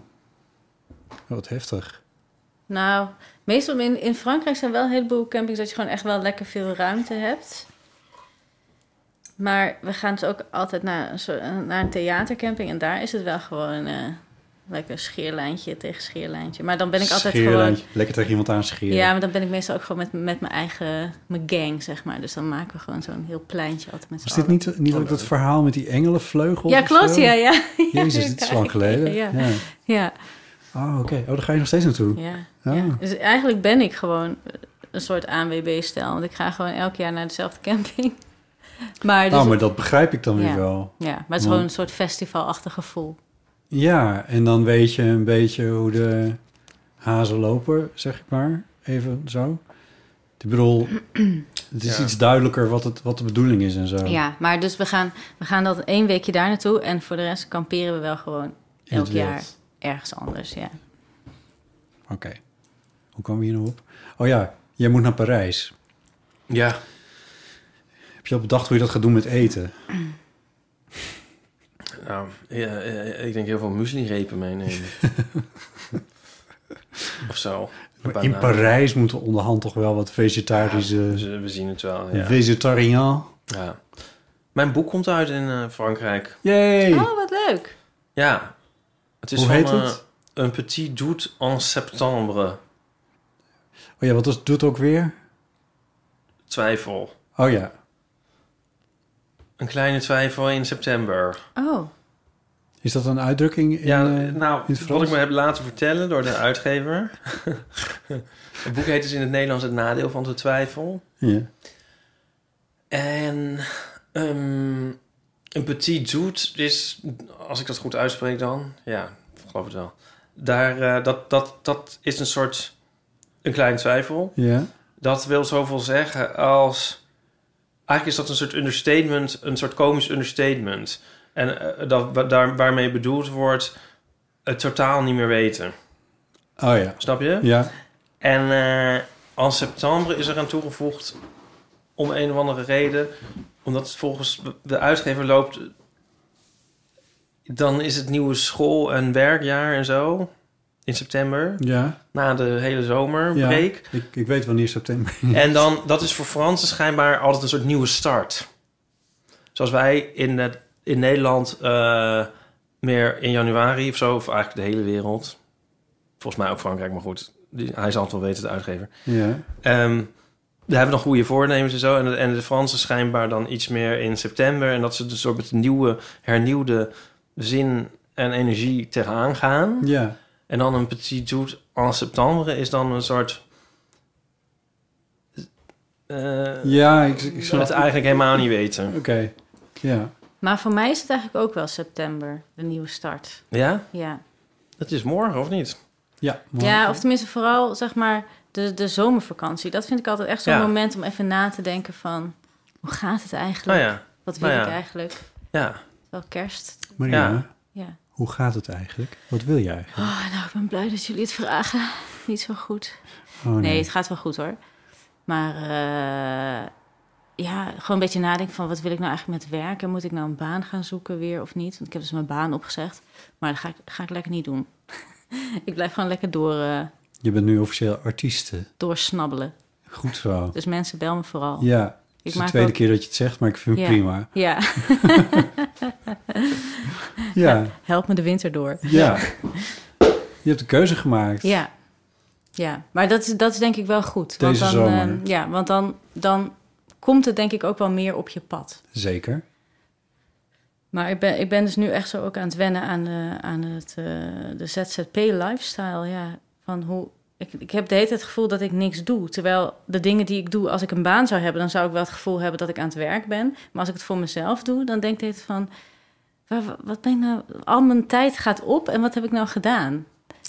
Wat heftig.
Nou, meestal in, in Frankrijk zijn wel een heleboel campings dat je gewoon echt wel lekker veel ruimte hebt. Maar we gaan dus ook altijd naar een, soort- naar een theatercamping en daar is het wel gewoon eh, lekker scheerlijntje tegen scheerlijntje. Maar dan ben ik altijd gewoon.
Scheerlijntje. Lekker tegen iemand aan scheren.
Ja, maar dan ben ik meestal ook gewoon met, met mijn eigen mijn gang, zeg maar. Dus dan maken we gewoon zo'n heel pleintje altijd met z'n
Was dit
allen.
niet, niet
Oh,
ook dat verhaal met die engelenvleugel?
Ja,
of
klopt,
zo?
ja, ja. [LAUGHS]
Jezus, dit is lang geleden.
Ja,
Ja.
ja,
Oh, oké. Oh, daar ga je nog steeds naartoe.
ja.
Ah.
ja. Dus eigenlijk ben ik gewoon een soort ANWB-stijl. Want ik ga gewoon elk jaar naar dezelfde [LAUGHS] camping. Maar, dus,
Nou, maar dat begrijp ik dan weer
Ja.
wel.
ja, maar het is gewoon een soort festivalachtig gevoel.
Ja, en dan weet je een beetje hoe de hazen lopen, zeg ik maar. Even zo. Ik bedoel, het is
Ja.
iets duidelijker wat, het, wat de bedoeling is en zo.
Ja, maar dus we gaan, we gaan dat één weekje daar naartoe. En voor de rest kamperen we wel gewoon
In het
elk jaar
wild.
ergens anders, ja.
Oké. Hoe komen we hier nou op? Oh ja, jij moet naar Parijs.
Ja.
Heb je al bedacht hoe je dat gaat doen met eten?
Nou, ja, eh, ik denk heel veel muesli-repen meenemen.
[LAUGHS]
of zo. Een
In
banaan.
Parijs moeten onderhand toch wel wat
Dus,
vegetarische...
eh, we zien het wel, ja.
Vegetariaan.
Ja. Mijn boek komt uit in eh, Frankrijk.
Yay!
Oh, wat leuk.
Ja. Het is
Hoe
van,
heet
eh,
het?
Een petit doute en septembre.
Oh ja, wat is, doet ook weer?
Twijfel.
Oh ja,
Een kleine twijfel in september.
Oh,
Is dat een uitdrukking? In,
ja,
eh,
nou,
in het Frans?
wat ik me heb laten vertellen door de uitgever. [LAUGHS] het boek heet dus in het Nederlands Het Nadeel van de Twijfel.
Ja.
En ehm, een petit doet is, als ik dat goed uitspreek dan, ja, ik geloof het wel. Daar, eh, dat, dat, dat is een soort, een klein twijfel.
ja.
Dat wil zoveel zeggen als, eigenlijk is dat een soort understatement, een soort komisch understatement. En eh, dat, wa- daar, waarmee bedoeld wordt, het totaal niet meer weten.
Oh ja.
Snap je?
Ja.
En eh, en september is eraan toegevoegd om een of andere reden, omdat het volgens de uitgever loopt, dan is het nieuwe school- en werkjaar en zo in september,
Ja.
na de hele zomerbreek.
Ik, ik weet wanneer september. [LAUGHS]
En dan, dat is voor Fransen schijnbaar altijd een soort nieuwe start. Zoals wij in, het, in Nederland eh, meer in januari of zo, of eigenlijk de hele wereld. Volgens mij ook Frankrijk, maar goed, die, hij zal het wel weten, de uitgever.
Ja.
Ehm daar hebben we nog goede voornemens en zo. En, de- en de Fransen schijnbaar dan iets meer in september. En dat ze dus soort met een nieuwe, hernieuwde zin en energie tegenaan gaan.
Ja.
En dan een petit doet en september is dan een soort... eh
Ja, ik, ik
Ze
snap
het eigenlijk helemaal niet weten.
Oké. Ja.
maar voor mij is het eigenlijk ook wel september, de nieuwe start.
Ja?
Ja,
Dat is morgen, of niet?
Ja. mooi.
ja of tenminste vooral zeg maar de, de zomervakantie. Dat vind ik altijd echt zo'n
Ja.
moment om even na te denken van... hoe gaat het
Nou
Oh
eigenlijk?
ja.
Wat wil
nou
ik
ja.
eigenlijk?
Ja.
Wel kerst.
Marina,
Ja.
Ja.
hoe gaat het eigenlijk? Wat wil jij eigenlijk?
Oh, nou, ik ben blij dat jullie het vragen. [LAUGHS] Niet zo goed.
Oh,
Nee, het gaat wel goed hoor. Maar eh, ja, gewoon een beetje nadenken van wat wil ik nou eigenlijk met werk? En moet ik nou een baan gaan zoeken weer of niet? Want ik heb dus mijn baan opgezegd. Maar dat ga ik, ga ik lekker niet doen. [LAUGHS] ik blijf gewoon lekker door, eh,
Je bent nu officieel artieste.
doorsnabbelen.
Goed zo.
Dus mensen, bel me vooral.
Ja. Het
ik
is de tweede
ook-
keer dat je het zegt, maar ik vind het
Ja.
prima.
Ja, [LAUGHS] [LAUGHS]
Ja.
help me de winter door.
Ja. Je hebt de keuze gemaakt.
Ja, ja. maar dat is, dat is denk ik wel goed.
Deze
dan,
zomer.
eh, ja, want dan, dan komt het denk ik ook wel meer op je pad.
Zeker.
Maar ik ben, ik ben dus nu echt eh, zo ook aan het wennen aan, de, aan het, eh, de ZZP-lifestyle. Ja. Van hoe, Ik, ik heb de hele tijd het gevoel dat ik niks doe. Terwijl de dingen die ik doe, als ik een baan zou hebben, dan zou ik wel het gevoel hebben dat ik aan het werk ben. Maar als ik het voor mezelf doe, dan denk ik de hele tijd van. "Waar- wa- Wat ben ik nou? Al mijn tijd gaat op en wat heb ik nou gedaan?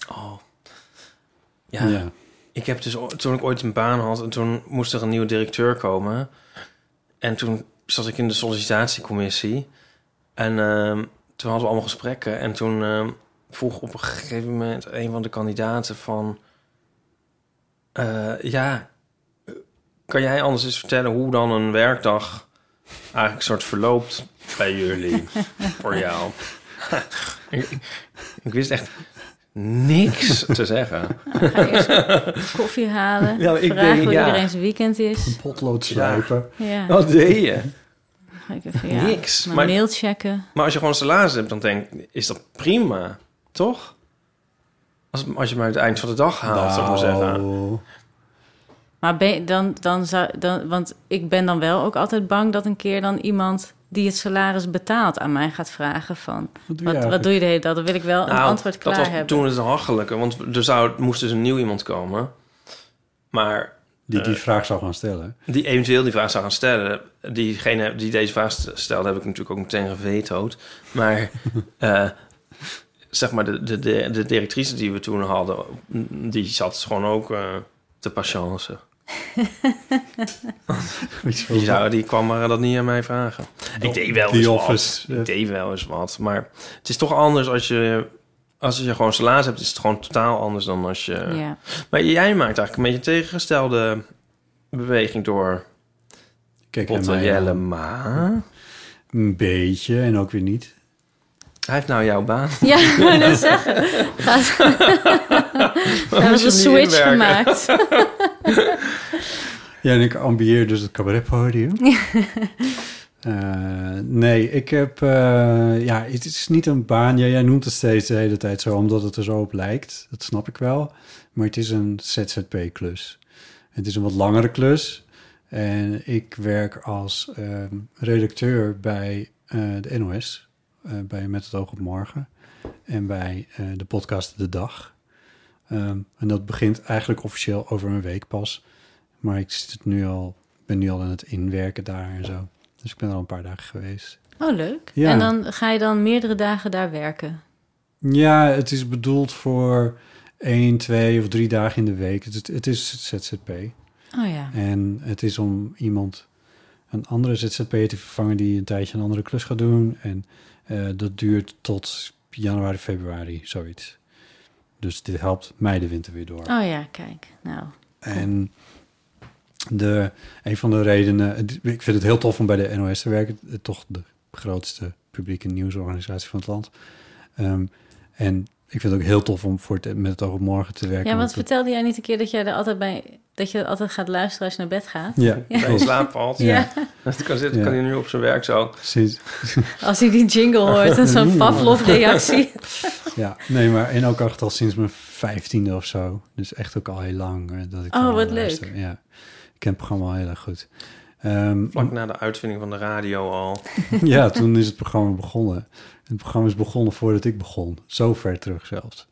Oh.
Ja.
Ja, ik heb dus o- toen ik ooit een baan had en toen moest er een nieuwe directeur komen. En toen zat ik in de sollicitatiecommissie. En ehm, toen hadden we allemaal gesprekken. En toen ehm, vroeg op een gegeven moment een van de kandidaten van... eh, ja, eh, kan jij anders eens vertellen hoe dan een werkdag eigenlijk soort verloopt bij jullie, voor jou? [LAUGHS] ik, ik wist echt niks te zeggen.
Ga eerst
[LAUGHS]
koffie halen.
Nou, ik
vragen
denk,
hoe
ja.
iedereen zijn weekend is.
Potlood sluipen.
Ja.
Wat deed je?
Ga ik even, ja.
Niks,
Mijn
maar-
mail checken.
Maar als je gewoon een salaris hebt, dan denk ik, is dat prima, toch? Als, als je maar het eind van de dag haalt, zou ik maar zeggen.
Nou,
Maar ben, je- dan, dan zou, dan, want ik ben dan wel ook altijd bang dat een keer dan iemand die het salaris betaalt aan mij gaat vragen van...
Wat doe je
Wat, wat
eigenlijk?
doe je de hele dag? Dan wil ik wel een
Nou,
antwoord klaar
dat was
hebben.
toen het hachelijke, want er zou, moest dus een nieuw iemand komen. Maar
Die
Eh.
die vraag zou gaan stellen.
die eventueel die vraag zou gaan stellen, diegene die deze vraag stelde, heb ik natuurlijk ook meteen gevetood. Maar eh, zeg maar, de, de, de, de directrice die we toen hadden, die zat gewoon ook eh, te patience. Die, zou, die kwam maar dat niet aan mij vragen. ik deed wel
The
eens
Office,
wat.
ja.
Ik deed wel eens wat. Maar het is toch anders als je... Als je gewoon salaris hebt, is het gewoon totaal anders dan als je...
ja.
Maar jij maakt eigenlijk een beetje een tegengestelde beweging door
Kijk, en
Potter
mij
Jellema.
Een beetje en ook weer niet.
Hij heeft nou jouw
[LAUGHS]
baan.
ja, [LAUGHS] ik wou
[LAUGHS]
net zeggen. Gaat- Daar was een
niet
switch
inwerken?
gemaakt.
[LAUGHS]
Ja, en ik ambieer dus het cabaretpodium. [LAUGHS] Eh, nee, ik heb... eh, ja, het is niet een baan. Ja, jij noemt het steeds de hele tijd zo, omdat het er zo op lijkt. Dat snap ik wel. Maar het is een ZZP-klus. Het is een wat langere klus. En ik werk als ehm, redacteur bij eh, de NOS. eh, bij Met het oog op morgen. En bij eh, de podcast De Dag. Ehm, en dat begint eigenlijk officieel over een week pas. Maar ik zit nu al, ben nu al aan het inwerken daar en zo. Dus ik ben er al een paar dagen geweest.
Oh, leuk.
Ja.
En dan ga je dan meerdere dagen daar werken.
Ja, het is bedoeld voor één, twee of drie dagen in de week. Het, het is ZZP.
Oh ja.
En het is om iemand, een andere ZZP'er te vervangen die een tijdje een andere klus gaat doen. En eh, dat duurt tot januari, februari, zoiets. Dus dit helpt mij de winter weer door.
Oh ja, kijk. Nou,
En de, een van de redenen, het- ik vind het heel tof om bij de NOS te werken, eh, toch de grootste publieke nieuwsorganisatie van het land. Ehm, en ik vind het ook heel tof om voor het, met het oog op morgen te werken.
Ja, want
het,
vertelde jij niet een keer dat jij er altijd bij dat je er altijd gaat luisteren als je naar bed gaat?
ja,
Als je in
klopt.
slaap valt.
Ja.
[LAUGHS] Als hij kan zitten,
Ja.
kan hij nu op zijn werk zo.
Sinds,
Als hij die jingle hoort en zo'n Pavlov-reactie.
ja, nee, maar en ook echt al sinds mijn vijftiende of zo. Dus echt ook al heel lang. eh, Dat ik
Oh,
ernaar
wat
luister.
leuk.
Ja, ik ken het programma al heel erg goed. Ehm,
Vlak na de uitvinding van de radio al.
[LAUGHS] Ja, toen is het programma begonnen. Het programma is begonnen voordat ik begon. Zo ver terug zelfs.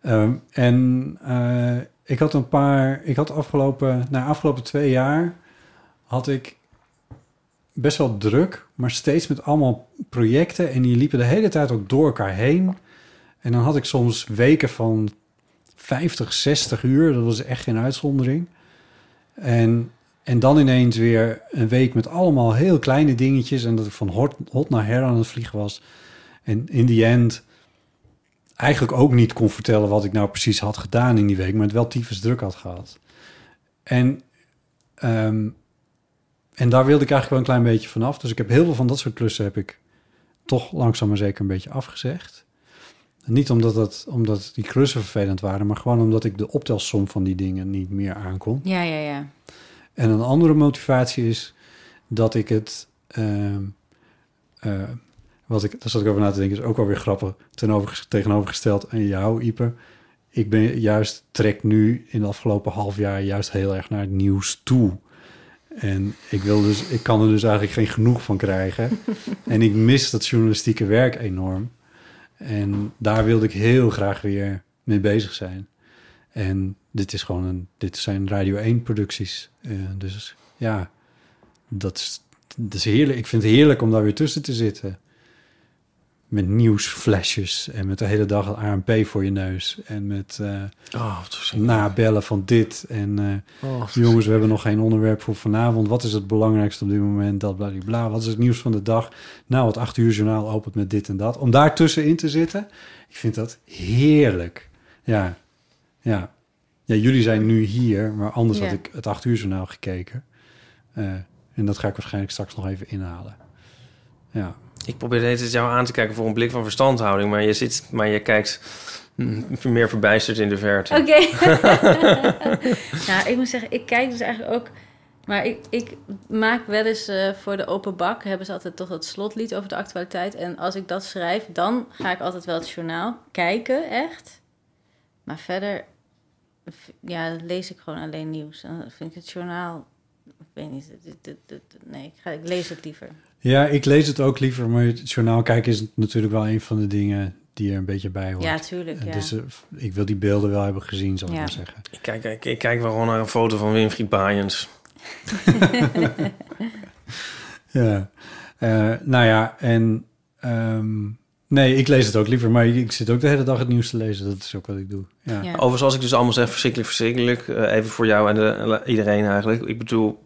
Ehm, en eh, ik had een paar... Ik had afgelopen... Na afgelopen twee jaar had ik best wel druk... maar steeds met allemaal projecten... en die liepen de hele tijd ook door elkaar heen. En dan had ik soms weken van 50, 60 uur. Dat was echt geen uitzondering. En en dan ineens weer een week met allemaal heel kleine dingetjes. En dat ik van hot, hot naar her aan het vliegen was. En in the end eigenlijk ook niet kon vertellen wat ik nou precies had gedaan in die week. Maar het wel tyfus druk had gehad. En, ehm, en daar wilde ik eigenlijk wel een klein beetje vanaf. Dus ik heb heel veel van dat soort klussen heb ik toch langzaam maar zeker een beetje afgezegd. En Niet omdat, dat, omdat die klussen vervelend waren, maar gewoon omdat ik de optelsom van die dingen niet meer aankon.
Ja, ja, ja.
En een andere motivatie is dat ik het. ehm, eh, wat ik, daar zat ik over na te denken, is ook alweer grappig. ten over- tegenovergesteld aan jou, Ieper. Ik ben juist, trek nu in de afgelopen half jaar juist heel erg naar het nieuws toe. En ik, wil dus, ik kan er dus eigenlijk geen genoeg van krijgen. en ik mis dat journalistieke werk enorm. En daar wilde ik heel graag weer mee bezig zijn. En dit is gewoon een, dit zijn Radio 1 producties. Eh, dus ja, dat is, dat is heerlijk. Ik vind het heerlijk om daar weer tussen te zitten. Met nieuwsflesjes en met de hele dag een ANP voor je neus. En met eh,
Oh, wat verschrikkelijk.
nabellen van dit. En eh,
Oh,
jongens, we hebben nog geen onderwerp voor vanavond. Wat is het belangrijkste op dit moment? Dat bla bla. Wat is het nieuws van de dag? Nou, het acht uur journaal opent met dit en dat. Om daar tussenin te zitten, ik vind dat heerlijk. Ja, ja. ja jullie zijn nu hier, maar anders
Ja.
had ik het acht uur journaal gekeken. Eh, en dat ga ik waarschijnlijk straks nog even inhalen. Ja.
Ik probeer de hele tijd jou aan te kijken voor een blik van verstandhouding, maar je, zit, maar je kijkt mm, meer verbijsterd in de verte.
Oké. nou, ik moet zeggen, ik kijk dus eigenlijk ook... Maar ik, ik maak wel eens eh, voor de open bak... hebben ze altijd toch dat slotlied over de actualiteit. En als ik dat schrijf, dan ga ik altijd wel het journaal kijken, echt. Maar verder, v- ja, lees ik gewoon alleen nieuws. Dan vind ik het journaal... Ik weet niet, dit- dit- dit- dit- nee, ik, ga, ik lees het liever.
ja, ik lees het ook liever, maar het journaal kijken is natuurlijk wel een van de dingen die er een beetje bij hoort.
Ja, tuurlijk,
En
ja.
Dus eh, f- ik wil die beelden wel hebben gezien, zal ik
Ja.
maar zeggen.
Ik, kijk, ik, ik kijk wel gewoon naar een foto van Winfried Baaiens.
Ja. Eh, nou ja, en... ehm, nee, ik lees het ook liever, maar ik zit ook de hele dag het nieuws te lezen. Dat is ook wat ik doe. Ja.
Ja.
Overigens, als ik dus allemaal zeg verschrikkelijk, verschrikkelijk, eh, even voor jou en de- iedereen eigenlijk. Ik bedoel,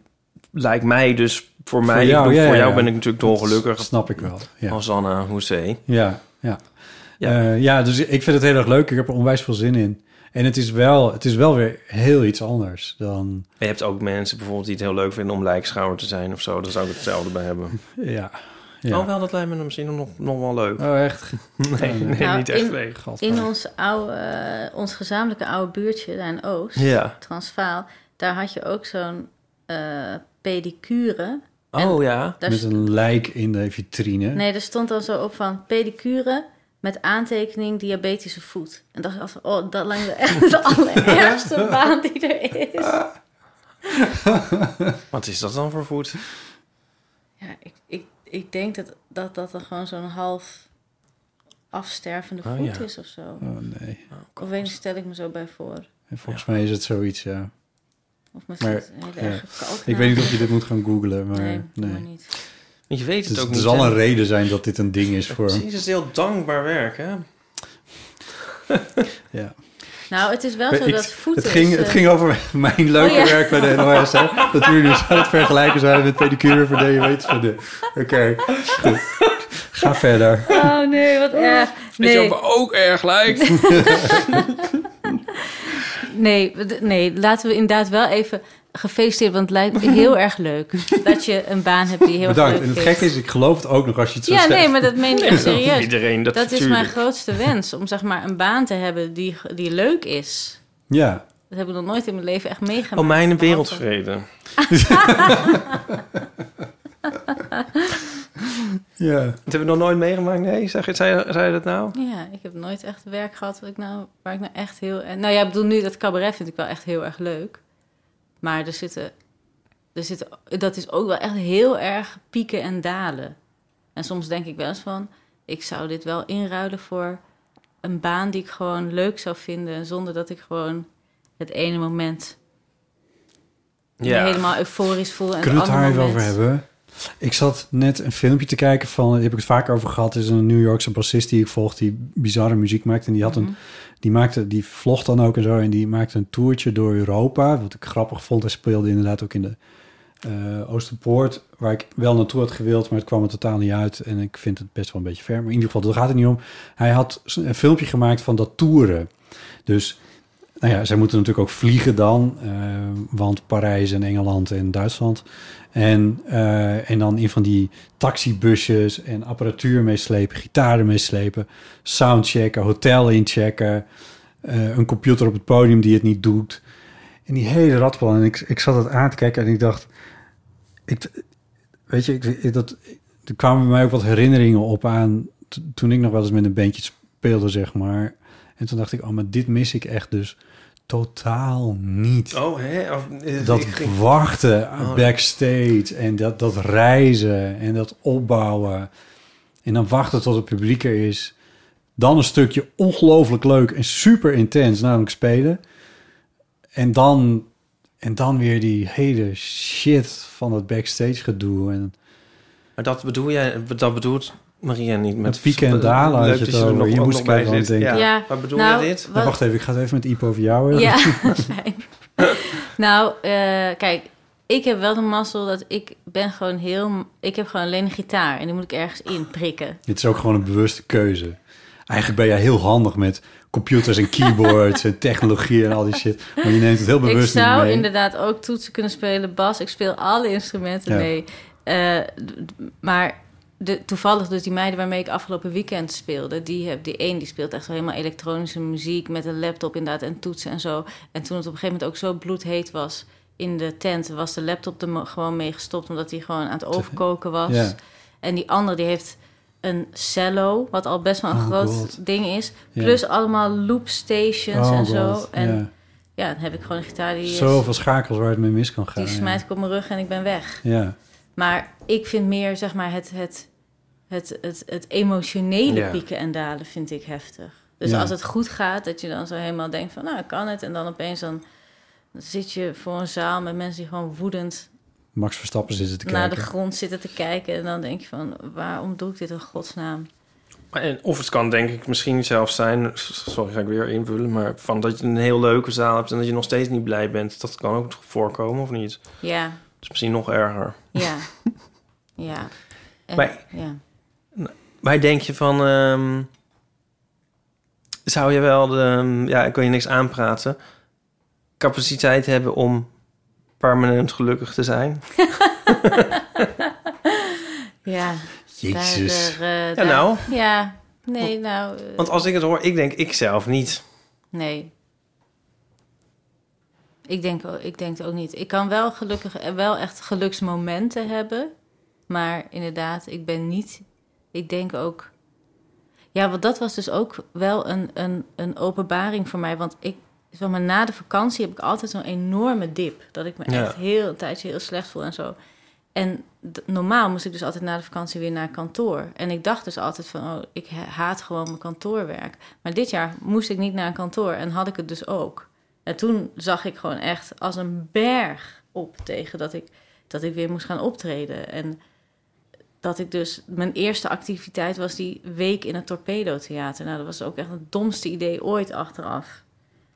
lijkt mij dus voor mij, ik
jou,
bedoel,
ja,
voor
ja,
jou
ja.
ben ik natuurlijk
Dat
dolgelukkig.
snap ik wel. Ja.
Als Anna Hoezee.
Ja, ja.
Ja.
Oh. Ja. ja, dus ik vind het heel erg leuk. Ik heb er onwijs veel zin in. En het is wel, het is wel weer heel iets anders dan...
Je hebt ook mensen bijvoorbeeld die het heel leuk vinden om lijkschouwer te zijn of zo. Daar zou ik hetzelfde bij hebben.
Ja. ja.
Oh, wel, dat lijkt me misschien nog, nog wel leuk.
Oh, echt?
Nee, nee
Nou,
niet echt
in-
leeg.
In ons, oude, eh, ons gezamenlijke oude buurtje daar in Oost...
Ja.
Transvaal, daar had je ook zo'n eh, pedicure.
Oh ja.
Daar
Met
st-
een lijk in de vitrine.
Nee, daar stond dan zo op van pedicure met aantekening diabetische voet. En dacht ik altijd, oh, dat lijkt me echt
[LAUGHS]
de allerergste baan die er is.
Wat is dat dan voor voet?
Ja, ik, ik, ik denk dat dat, dat dan gewoon zo'n half afstervende
Oh,
voet
ja.
is of zo.
Oh, nee.
Of weet niet, stel ik me zo bij voor.
En volgens mij is het zoiets, ja.
Of misschien
Maar,
is het een hele
ja.
erg kalk.
Ik weet niet of je dit moet gaan googlen, maar...
Nee,
Nee,
doe maar niet.
Je weet het
Dus
ook
er
niet.
zal
hè?
een reden zijn dat dit een ding is voor hem.
Precies, het is heel dankbaar werk, hè?
Ja.
Nou, het is wel zo
Ik-
dat voeten...
het, ging,
is,
het
eh,
ging over [LAUGHS] mijn leuke
Oh, ja.
werk bij de NOS. Hè? Dat jullie nu zouden het vergelijken zouden met pedicure voor diabetesvoeten. Oké, goed. Ga verder.
Oh nee,
Ah.
wat erg. Nee,
ook erg lijkt.
[LAUGHS] nee, d- nee, laten we inderdaad wel even gefeliciteerd, want het lijkt me heel erg leuk dat je een baan hebt die heel
Bedankt.
erg
En
leuk
het gekke is, ik geloof het ook nog als je het zo
Ja,
zegt.
nee, maar dat meen ik echt serieus.
Iedereen, dat,
Dat is mijn
tuurlijk.
grootste wens, om zeg maar een baan te hebben die, die leuk is.
Ja,
Dat heb ik nog nooit in mijn leven echt meegemaakt.
Oh, mijn
Behalve-
wereldvrede.
ja.
Dat hebben we nog nooit meegemaakt, nee? Zeg, je- zei, zei je dat nou?
Ja, ik heb nooit echt werk gehad wat ik nou, waar ik nou echt heel... eh, Nou ja, ik bedoel nu, dat cabaret vind ik wel echt heel erg leuk. Maar er zitten, er zitten... Dat is ook wel echt heel erg pieken en dalen. En soms denk ik wel eens van... Ik zou dit wel inruilen voor een baan die ik gewoon leuk zou vinden... zonder dat ik gewoon het ene moment me helemaal euforisch voel. En
Kunnen we het daar
andere
even over
moment-
hebben? Ik zat net een filmpje te kijken van, daar heb ik het vaak over gehad, is een New Yorkse bassist die ik volg die bizarre muziek maakt. En die had een, die maakte, die vlog dan ook en zo. En die maakte een toertje door Europa. Wat ik grappig vond. Hij speelde inderdaad ook in de eh, Oosterpoort, waar ik wel naartoe had gewild, maar het kwam er totaal niet uit. En ik vind het best wel een beetje ver. Maar in ieder geval, daar gaat het niet om. Hij had z- een filmpje gemaakt van dat toeren. Dus, nou ja, zij moeten natuurlijk ook vliegen dan. eh, want Parijs en Engeland en Duitsland. En, eh, en dan in van die taxibusjes en apparatuur meeslepen, gitaren meeslepen, soundchecken, hotel inchecken, eh, een computer op het podium die het niet doet. En die hele ratplan. En ik, ik zat het aan te kijken en ik dacht, ik, weet je, ik, ik- dat, er kwamen bij mij ook wat herinneringen op aan t- toen ik nog wel eens met een bandje speelde, zeg maar. En toen dacht ik, oh, maar dit mis ik echt dus totaal niet
Oh, hè? Of, eh,
dat
ik ging-
wachten
Oh.
backstage en dat, dat reizen en dat opbouwen. En dan wachten tot het publiek er is. Dan een stukje ongelooflijk leuk en super intens, namelijk spelen. En dan, en dan weer die hele shit van dat backstage gedoe. En
Maar dat bedoel jij, dat bedoelt Maria niet met...
Met pieken en dalen had
Leuk
je
dat er
het over.
nog-
Je
ook
moest
nog bij
kijken,
zit.
want ik
Ja.
denk-
Ja.
Maar bedoel
Nou,
je dit?
Ja,
Wat-
wacht even, ik ga het even met Iep over jou hebben.
Ja, fijn. nou, eh, kijk, ik heb wel de mazzel dat ik ben gewoon heel... Ik heb gewoon alleen een gitaar en die moet ik ergens in prikken.
Dit is ook gewoon een bewuste keuze. Eigenlijk ben jij heel handig met computers en keyboards en technologie en al die shit. Maar je neemt het heel
ik
bewust niet
zou
mee.
inderdaad ook toetsen kunnen spelen, bas. Ik speel alle instrumenten
Ja.
mee. Eh, d- d- maar de, toevallig dus die meiden waarmee ik afgelopen weekend speelde... die, heb, die één die speelt echt wel helemaal elektronische muziek... met een laptop inderdaad en toetsen en zo. En toen het op een gegeven moment ook zo bloedheet was... in de tent was de laptop er mo- gewoon mee gestopt... omdat die gewoon aan het overkoken was.
Ja.
En die andere die heeft een cello... wat al best wel een
Oh,
groot
God.
ding is.
Ja.
Plus allemaal loopstations en
Oh
zo.
god,
En
ja.
ja, dan heb ik gewoon een gitaar die, is-
Zoveel schakels waar het mee mis kan gaan.
die smijt ik op mijn rug en ik ben weg.
ja. Ja.
Maar ik vind meer zeg maar het, het, het, het, het emotionele
Ja.
pieken en dalen vind ik heftig. Dus
Ja.
als het goed gaat, dat je dan zo helemaal denkt van nou, ik kan het. En dan opeens dan zit je voor een zaal met mensen die gewoon woedend
Max Verstappen zit er te
naar de
kijken.
grond zitten te kijken. En dan denk je van waarom doe ik dit in godsnaam?
Maar en- Of het kan denk ik misschien zelfs zijn, s- sorry ga ik weer invullen, maar van dat je een heel leuke zaal hebt en dat je nog steeds niet blij bent. Dat kan ook voorkomen of niet?
Ja,
Dat is misschien nog erger.
[LAUGHS]
ja, ja. En-
Maar-
ja.
Maar denk je van, ehm, zou je wel, de, ehm, ja ik kan je niks aanpraten, capaciteit hebben om permanent gelukkig te zijn?
ja.
Jezus.
Daar, eh,
Ja
daar-
nou,
Ja, nee, nou... eh,
want als ik het hoor, ik denk ik zelf niet.
Nee. Ik denk, o- ik denk het ook niet. Ik kan wel gelukkig eh, wel echt geluksmomenten hebben. Maar inderdaad, ik ben niet. Ik denk ook. Ja, want dat was dus ook wel een, een, een openbaring voor mij. Want ik, zeg maar, na de vakantie heb ik altijd zo'n enorme dip. Dat ik me
Ja.
echt heel een tijdje heel slecht voel en zo. En d- normaal moest ik dus altijd na de vakantie weer naar kantoor. En ik dacht dus altijd van, oh, ik ha- haat gewoon mijn kantoorwerk. Maar dit jaar moest ik niet naar een kantoor en had ik het dus ook. En toen zag ik gewoon echt als een berg op tegen dat ik, dat ik weer moest gaan optreden. En dat ik dus, mijn eerste activiteit was die week in het Torpedo Theater. Nou, dat was ook echt het domste idee ooit achteraf.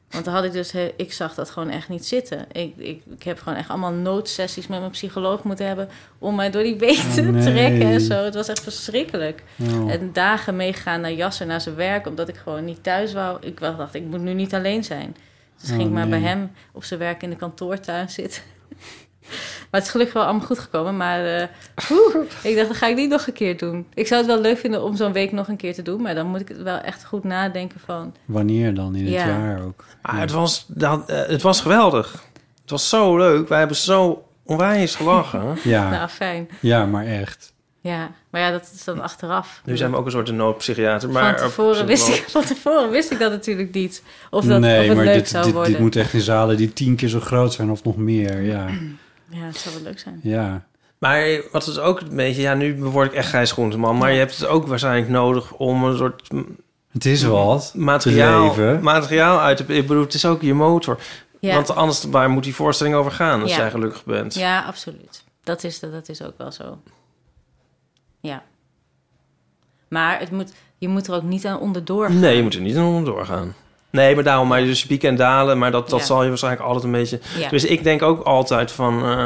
Want dan had ik dus, he- ik zag dat gewoon echt niet zitten. Ik, ik, ik heb gewoon echt allemaal noodsessies met mijn psycholoog moeten hebben om mij door die [LAUGHS] week te
Oh, nee.
trekken en zo. Het was echt verschrikkelijk.
Oh.
En dagen meegegaan naar Jasser, naar zijn werk, omdat ik gewoon niet thuis wou. Ik wel dacht, ik moet nu niet alleen zijn. Dus
Oh,
ging ik maar bij
nee.
hem op zijn werk in de kantoortuin zitten. [LAUGHS] maar het is gelukkig wel allemaal goed gekomen. Maar eh, oeh,
[LAUGHS]
ik dacht, dat ga ik niet nog een keer doen. Ik zou het wel leuk vinden om zo'n week nog een keer te doen. Maar dan moet ik het wel echt goed nadenken van...
Wanneer dan? In het
Ja.
jaar ook.
Maar het, was, dat, eh, het was geweldig. Het was zo leuk. Wij hebben zo onwijs gelachen.
Ja,
Nou, fijn.
ja maar echt.
Ja, maar ja, dat is dan achteraf.
Nu zijn we ook een soort noodpsychiater. Maar
van,
eh,
tevoren wist ik, van tevoren wist ik dat natuurlijk niet. Of, dat, of
nee,
het
maar
leuk
dit,
zou
dit,
worden.
dit moet echt in zalen die tien keer zo groot zijn of nog meer. Ja,
Ja, het zou wel leuk zijn.
ja.
Maar wat is ook een beetje... Ja, nu word ik echt Gijs Groenteman. Maar je hebt het ook waarschijnlijk nodig om een soort m-
Het is wat.
materiaal,
Te leven.
materiaal uit te... Ik bedoel, het is ook je motor.
Ja.
Want anders, waar moet die voorstelling over gaan als
Ja.
jij gelukkig bent?
Ja, absoluut. Dat is, dat is ook wel zo. Ja. Maar het moet, je moet er ook niet aan onderdoor gaan.
Nee, je moet er niet aan doorgaan. Nee, maar daarom, maar dus pieken en dalen, maar dat, dat
Ja.
zal je waarschijnlijk altijd een beetje...
Ja.
Dus ik denk ook altijd van, eh,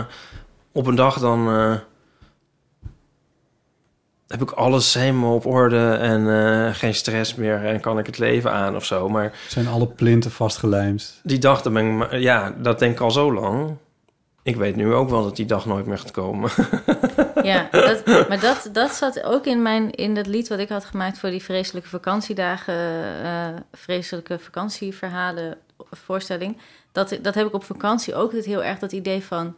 op een dag dan eh, heb ik alles helemaal op orde en eh, geen stress meer en kan ik het leven aan of zo. Maar
Zijn alle plinten vastgelijmd.
die dag, dan ben ik, maar- ja, dat denk ik al zo lang. Ik weet nu ook wel dat die dag nooit meer gaat komen.
Ja, dat, maar dat, dat zat ook in, mijn, in dat lied wat ik had gemaakt voor die vreselijke vakantiedagen, eh, vreselijke vakantieverhalen, voorstelling. Dat, dat heb ik op vakantie ook het heel erg dat idee van,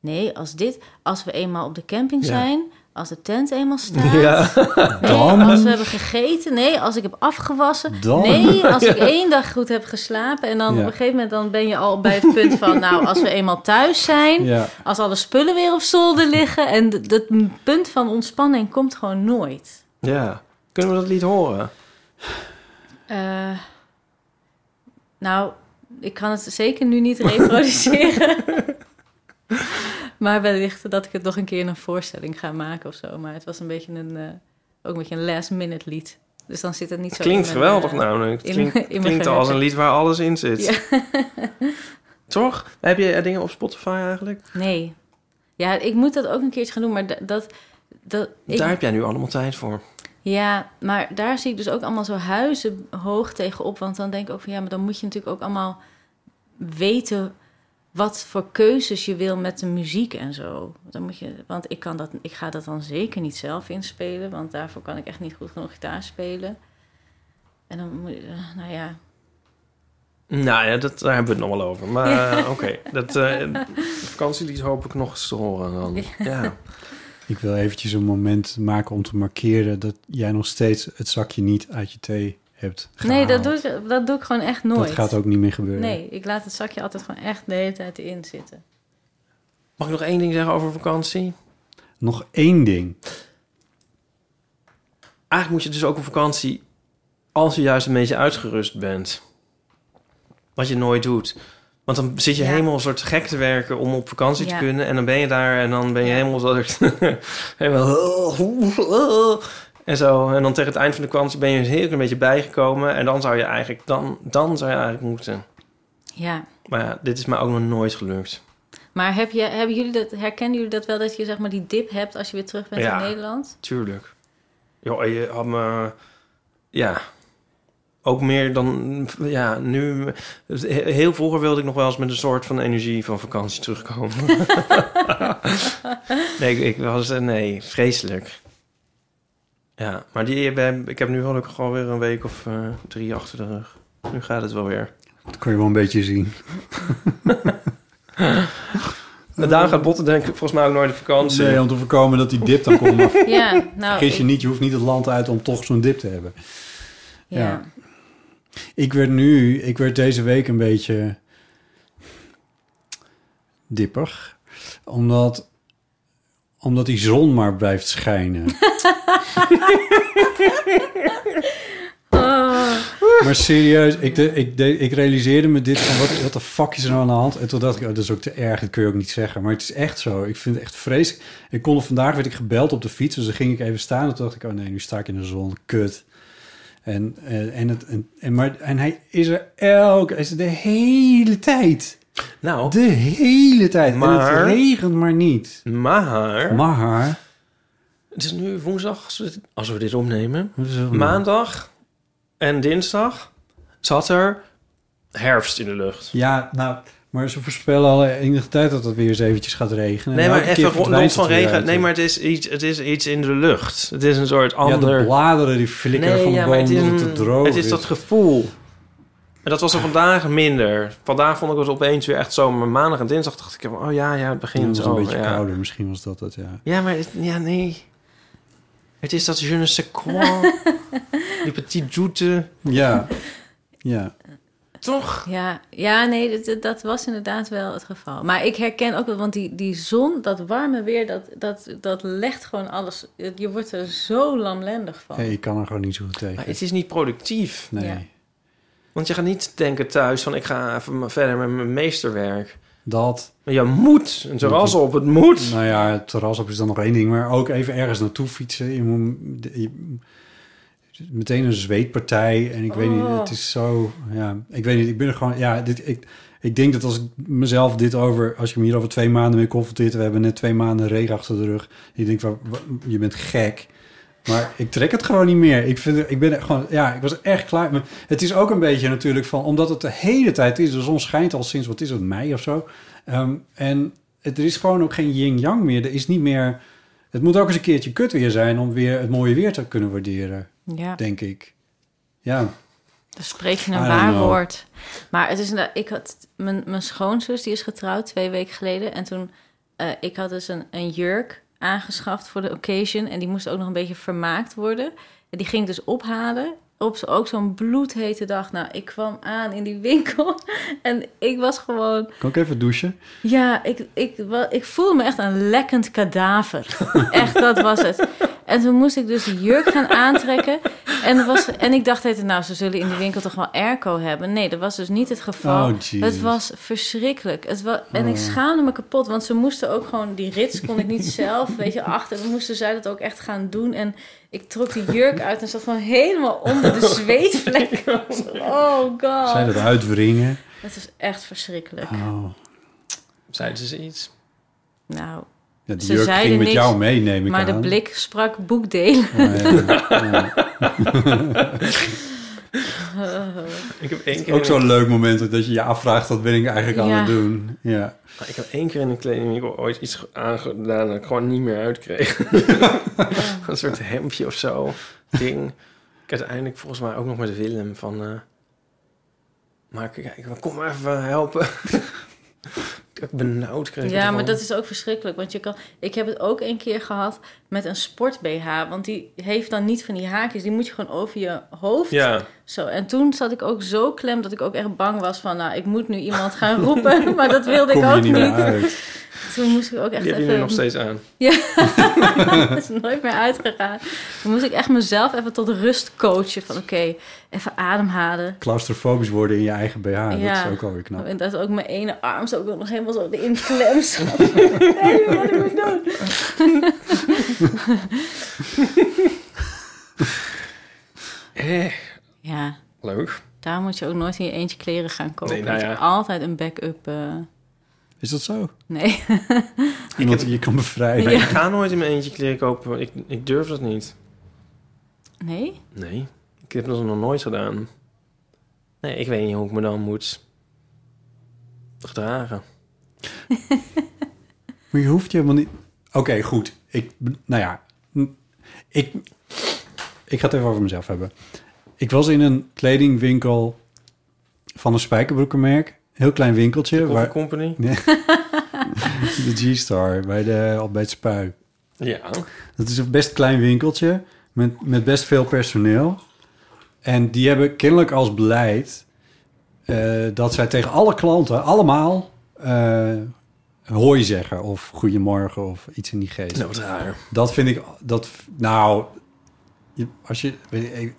nee, als dit, als we eenmaal op de camping
Ja.
zijn, als de tent eenmaal staat, Nee,
Dan?
als we hebben gegeten. Nee, als ik heb afgewassen.
Dan?
Nee, als ik één dag goed heb geslapen. En dan
Ja.
op een gegeven moment dan ben je al bij het
[LAUGHS]
punt van... nou, als we eenmaal thuis zijn.
Ja.
Als alle spullen weer op zolder liggen. En d- dat m- punt van ontspanning komt gewoon nooit.
ja. Kunnen we dat lied horen?
Eh, nou, Ik kan het zeker nu
[LAUGHS]
niet reproduceren. maar wellicht dat ik het nog een keer in een voorstelling ga maken of zo. Maar het was een beetje een, eh, ook een beetje een last minute lied. Dus dan zit het niet zo...
Klinkt
in mijn, eh,
geweldig namelijk. Het
in-
klinkt,
in mijn
klinkt al als een lied waar alles in zit.
Ja.
[LAUGHS] Toch? Heb je eh, dingen op Spotify eigenlijk?
Nee. Ja, ik moet dat ook een keertje gaan doen, maar da- dat... dat ik-
Daar heb jij nu allemaal tijd voor.
Ja, maar daar zie ik dus ook allemaal zo huizen hoog tegenop. Want dan denk ik ook van ja, maar dan moet je natuurlijk ook allemaal weten wat voor keuzes je wil met de muziek en zo. Dan moet je, want ik, kan dat, ik ga dat dan zeker niet zelf inspelen, want daarvoor kan ik echt niet goed genoeg gitaar spelen. En dan moet je, eh, nou ja,
Nou ja, dat, daar hebben we het nog wel over. Maar
[LAUGHS]
eh, oké, dat eh vakantielied hoop ik nog eens te horen dan. Ja.
Ik wil eventjes een moment maken om te markeren dat jij nog steeds het zakje niet uit je thee hebt
Nee,
gehaald.
dat doe, ik, dat doe ik gewoon echt nooit.
Dat gaat ook niet meer gebeuren.
Nee, ik laat het zakje altijd gewoon echt de hele tijd in zitten.
Mag ik nog één ding zeggen over vakantie?
Nog één ding.
Eigenlijk moet je dus ook op vakantie als je juist een beetje uitgerust bent. Wat je nooit doet. Want dan zit je
Ja.
helemaal een soort gek te werken om op vakantie
Ja.
te kunnen. En dan ben je daar en dan ben je [LAUGHS] helemaal zo... helemaal... En zo. En dan tegen het eind van de vakantie ben je een heel klein beetje bijgekomen. En dan zou je eigenlijk... Dan, dan zou je eigenlijk moeten.
Ja,
Maar ja, dit is mij ook nog nooit gelukt.
Maar heb je, hebben jullie dat, herkennen jullie dat wel dat je zeg maar die dip hebt als je weer terug bent
Ja.
in
[LAUGHS]
Nederland?
Tuurlijk. Joh, je had me... Ja. Ook meer dan... Ja, nu... Heel vroeger wilde ik nog wel eens met een soort van energie van vakantie terugkomen. nee, ik, ik was... eh, Nee, vreselijk. Ja, maar die, ik heb nu gelukkig gewoon weer een week of eh, drie achter de rug. Nu gaat het wel weer.
Dat kon je wel een beetje zien.
En daar gaat Botten denk ik volgens mij ook nooit op vakantie.
Nee, om te voorkomen dat die dip dan komt. Maar
Ja, nou.
vergis je
ik-
niet, je hoeft niet het land uit om toch zo'n dip te hebben.
Ja.
ja. Ik werd nu, ik werd deze week een beetje dipper. Omdat, omdat die zon maar blijft schijnen.
Oh.
Maar serieus, ik, de, ik, de- ik realiseerde me dit van wat, wat de fuck is er nou aan de hand? En toen dacht ik, oh, dat is ook te erg, dat kun je ook niet zeggen. Maar het is echt zo. Ik vind het echt vreselijk. Ik kon, vandaag werd ik gebeld op de fiets, dus dan ging ik even staan. En toen dacht ik, oh nee, nu sta ik in de zon, kut. En, eh, en, het, en, en, maar, en hij is er elke, hij is er de hele tijd.
Nou,
De hele tijd. En
Maar-
het regent maar niet.
maar...
Maar,
Het is nu woensdag als we dit, als we dit opnemen.
Wat is er?
Maandag en dinsdag zat er herfst in de lucht.
ja, nou, maar ze voorspellen al enige tijd dat het weer eens eventjes gaat regenen.
Nee,
En
maar
elke keer
even rond rond
verdwijnt
van
het weer
regen.
uit.
Nee, maar het is, iets, het is iets in de lucht. Het is een soort
Ja, de
ander...
bladeren die flikkeren
nee,
van de
ja, maar
boom
het is,
omdat het
een-
te droog
het is dat gevoel. En dat was er vandaag minder. Vandaag vond ik het opeens weer echt zo. Maar maandag en dinsdag dacht ik, oh ja, ja, het
Ja, het
begint
was
zo.
een beetje
ja.
kouder, misschien was dat het, ja.
Ja, maar het- ja, nee. Het is dat je ne sais
[LAUGHS]
quoi. Die petit joute. [LAUGHS]
Ja, ja.
Toch?
Ja, ja nee, dat, dat was inderdaad wel het geval. Maar ik herken ook wel, want die, die zon, dat warme weer, dat, dat, dat legt gewoon alles. Je wordt er zo lamlendig van.
Hey, ik kan er gewoon niet zo goed tegen.
Maar het is niet productief.
Nee,
Ja.
Want je gaat niet denken thuis van ik ga even maar verder met mijn meesterwerk.
dat...
Maar je moet een terras op, het moet.
Nou ja, het terras op is dan nog één ding, maar ook even ergens naartoe fietsen. Je moet je- meteen een zweetpartij en ik weet niet, het is zo, ja, ik weet niet, ik ben er gewoon, ja, dit, ik, ik denk dat als ik mezelf dit over, als je me hier over twee maanden mee confronteert, we hebben net twee maanden regen achter de rug, je denkt van, wa- je bent gek. Maar ik trek het gewoon niet meer. Ik, vind, er- ik ben er gewoon, ja, ik was echt klaar. Maar het is ook een beetje natuurlijk van, omdat het de hele tijd is. De zon schijnt al sinds, wat is het, mei of zo. Ehm, en het, er is gewoon ook geen yin-yang meer. Er is niet meer, het moet ook eens een keertje kut weer zijn om weer het mooie weer te kunnen waarderen,
Ja.
denk ik. Ja,
Dan spreek je
I
een
don't
waar
know.
woord. Maar het is inderdaad- ik had mijn, mijn schoonzus die is getrouwd twee weken geleden. En toen, eh, ik had dus een, een jurk aangeschaft voor de occasion. En die moest ook nog een beetje vermaakt worden. En die ging ik dus ophalen. Op zo- ook zo'n bloedhete dag. Nou, ik kwam aan in die winkel. [LAUGHS] En ik was gewoon
kan ik even douchen?
ja, ik, ik, wel, ik voelde me echt
[LAUGHS]
een lekkend kadaver. Echt, dat was het. En toen moest ik dus die jurk gaan aantrekken. En, er was, en ik dacht even, nou, ze zullen in die winkel toch wel airco hebben. Nee, dat was dus niet het geval.
Oh, jeez. Oh.
het was verschrikkelijk. Het wa- en ik schaamde me kapot, want ze moesten ook gewoon... Die rits kon ik niet zelf, weet je, achter. Dan moesten zij dat ook echt gaan doen. En ik trok die jurk uit en zat gewoon helemaal onder
[LAUGHS]
de zweetvlekken. Oh god.
Zij dat
[LAUGHS]
uitwringen.
Dat is echt verschrikkelijk.
Oh.
Zeiden ze iets?
Nou,
Ja, die
Ze
jurk
zeiden
ging met
niks,
jou mee, neem ik
maar
aan. Oh,
de blik sprak boekdelen. [LAUGHS]
Ja, ja, ja.
Ik heb één keer,
Ook
in,
zo'n leuk moment dat je je afvraagt, wat ben ik eigenlijk aan
Ja.
het doen? Ja.
een- Ah, ik heb één keer in een kledingwinkel ooit iets ge- aangedaan dat ik gewoon niet meer uitkreeg. [LAUGHS] een soort hemdje of zo, ding. Ik uiteindelijk volgens mij ook nog met Willem van... eh, maar kijk, kom maar even [LAUGHS] helpen. dat ik benauwd kreeg.
Ja, maar
Gewoon.
dat is ook verschrikkelijk. Want je kan, ik heb het ook een keer gehad met een sport-BH. Want die heeft dan niet van die haakjes. Die moet je gewoon over je hoofd.
Ja,
Zo. En toen zat ik ook zo klem dat ik ook echt bang was van... Nou, ik moet nu iemand gaan roepen. [LAUGHS] maar dat wilde
Kom
ik
je
ook
niet meer
niet. [LAUGHS]
uit.
Toen moest ik ook echt
die heb je
even...
nu
[LAUGHS]
nog steeds aan.
dat is nooit meer uitgegaan. Toen moest ik echt mezelf even tot rust coachen. Van oké, even ademhalen.
Claustrofobisch worden in je eigen BH, dat
Ja.
is ook alweer knap.
En dat ook mijn ene arm zo ook nog helemaal zo in klem [LAUGHS] zat. Nee, wat moet ik doen?
Eh,
Ja,
leuk.
daar moet je ook nooit in je eentje kleren gaan kopen.
Nee, nou
Je
ja.
hebt altijd een backup. eh,
Is dat zo?
nee. [LAUGHS]
Iemand die je kan bevrijden.
Maar ik ga nooit in mijn eentje kleren kopen. Ik, ik durf dat niet.
Nee?
Nee, ik heb dat nog nooit gedaan. Nee, ik weet niet hoe ik me dan moet gedragen.
Maar je hoeft je helemaal niet... Oké, goed. Ik, nou ja, ik, ik ga het even over mezelf hebben. Ik was in een kledingwinkel van een spijkerbroekenmerk. Heel klein winkeltje.
Coffee
Waar,
Company?
de G-Star, bij, de, al bij het spui.
Ja.
Dat is een best klein winkeltje met, met best veel personeel. En die hebben kennelijk als beleid eh, dat zij tegen alle klanten allemaal eh hoi zeggen of goedemorgen of iets in die geest.
Nou, wat raar.
Dat vind ik, dat, nou, je- als je, weet je,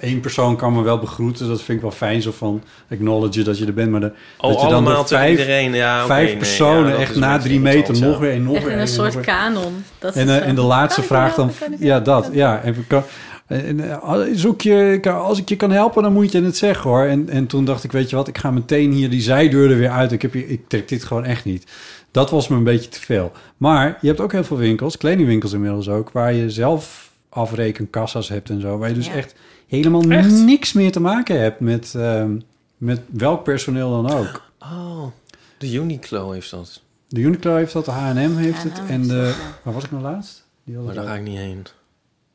één persoon kan me wel begroeten, dat vind ik wel fijn, zo van acknowledge dat je er bent, maar de,
Oh,
dat je dan
allemaal
door
tegen
vijf,
iedereen. Ja, Ah, oké,
vijf
nee, ja,
personen
dat
echt
is
na
een
drie
beetje
meter
irritant,
nog weer en nog
Echt
weer.
in
en
een
nog
soort
weer.
kanon. Dat is
En,
het
eh,
zo.
en de laatste
Kan ik
vraag
je
dan...
helpen? Kan ik je
Ja,
helpen?
dat. Ja, even, kan, en, eh, zoek je, kan- als ik je kan helpen, dan moet je het zeggen hoor. En, en toen dacht ik, weet je wat, ik ga meteen hier die zijdeur er weer uit. Ik, heb hier, ik trek dit gewoon echt niet. Dat was me een beetje te veel. Maar je hebt ook heel veel winkels, kledingwinkels inmiddels ook... waar je zelf afrekenkassa's hebt en zo. Waar je dus
Ja.
echt helemaal niks meer te maken hebt met, ehm, met welk personeel dan ook.
Oh, de Uniqlo heeft dat.
De Uniqlo heeft dat, de H&M heeft het.
H&M
En
is
de...
dat, ja.
Waar was ik nou laatst? Die hadden
Maar daar
het
ga
ook.
ik niet heen.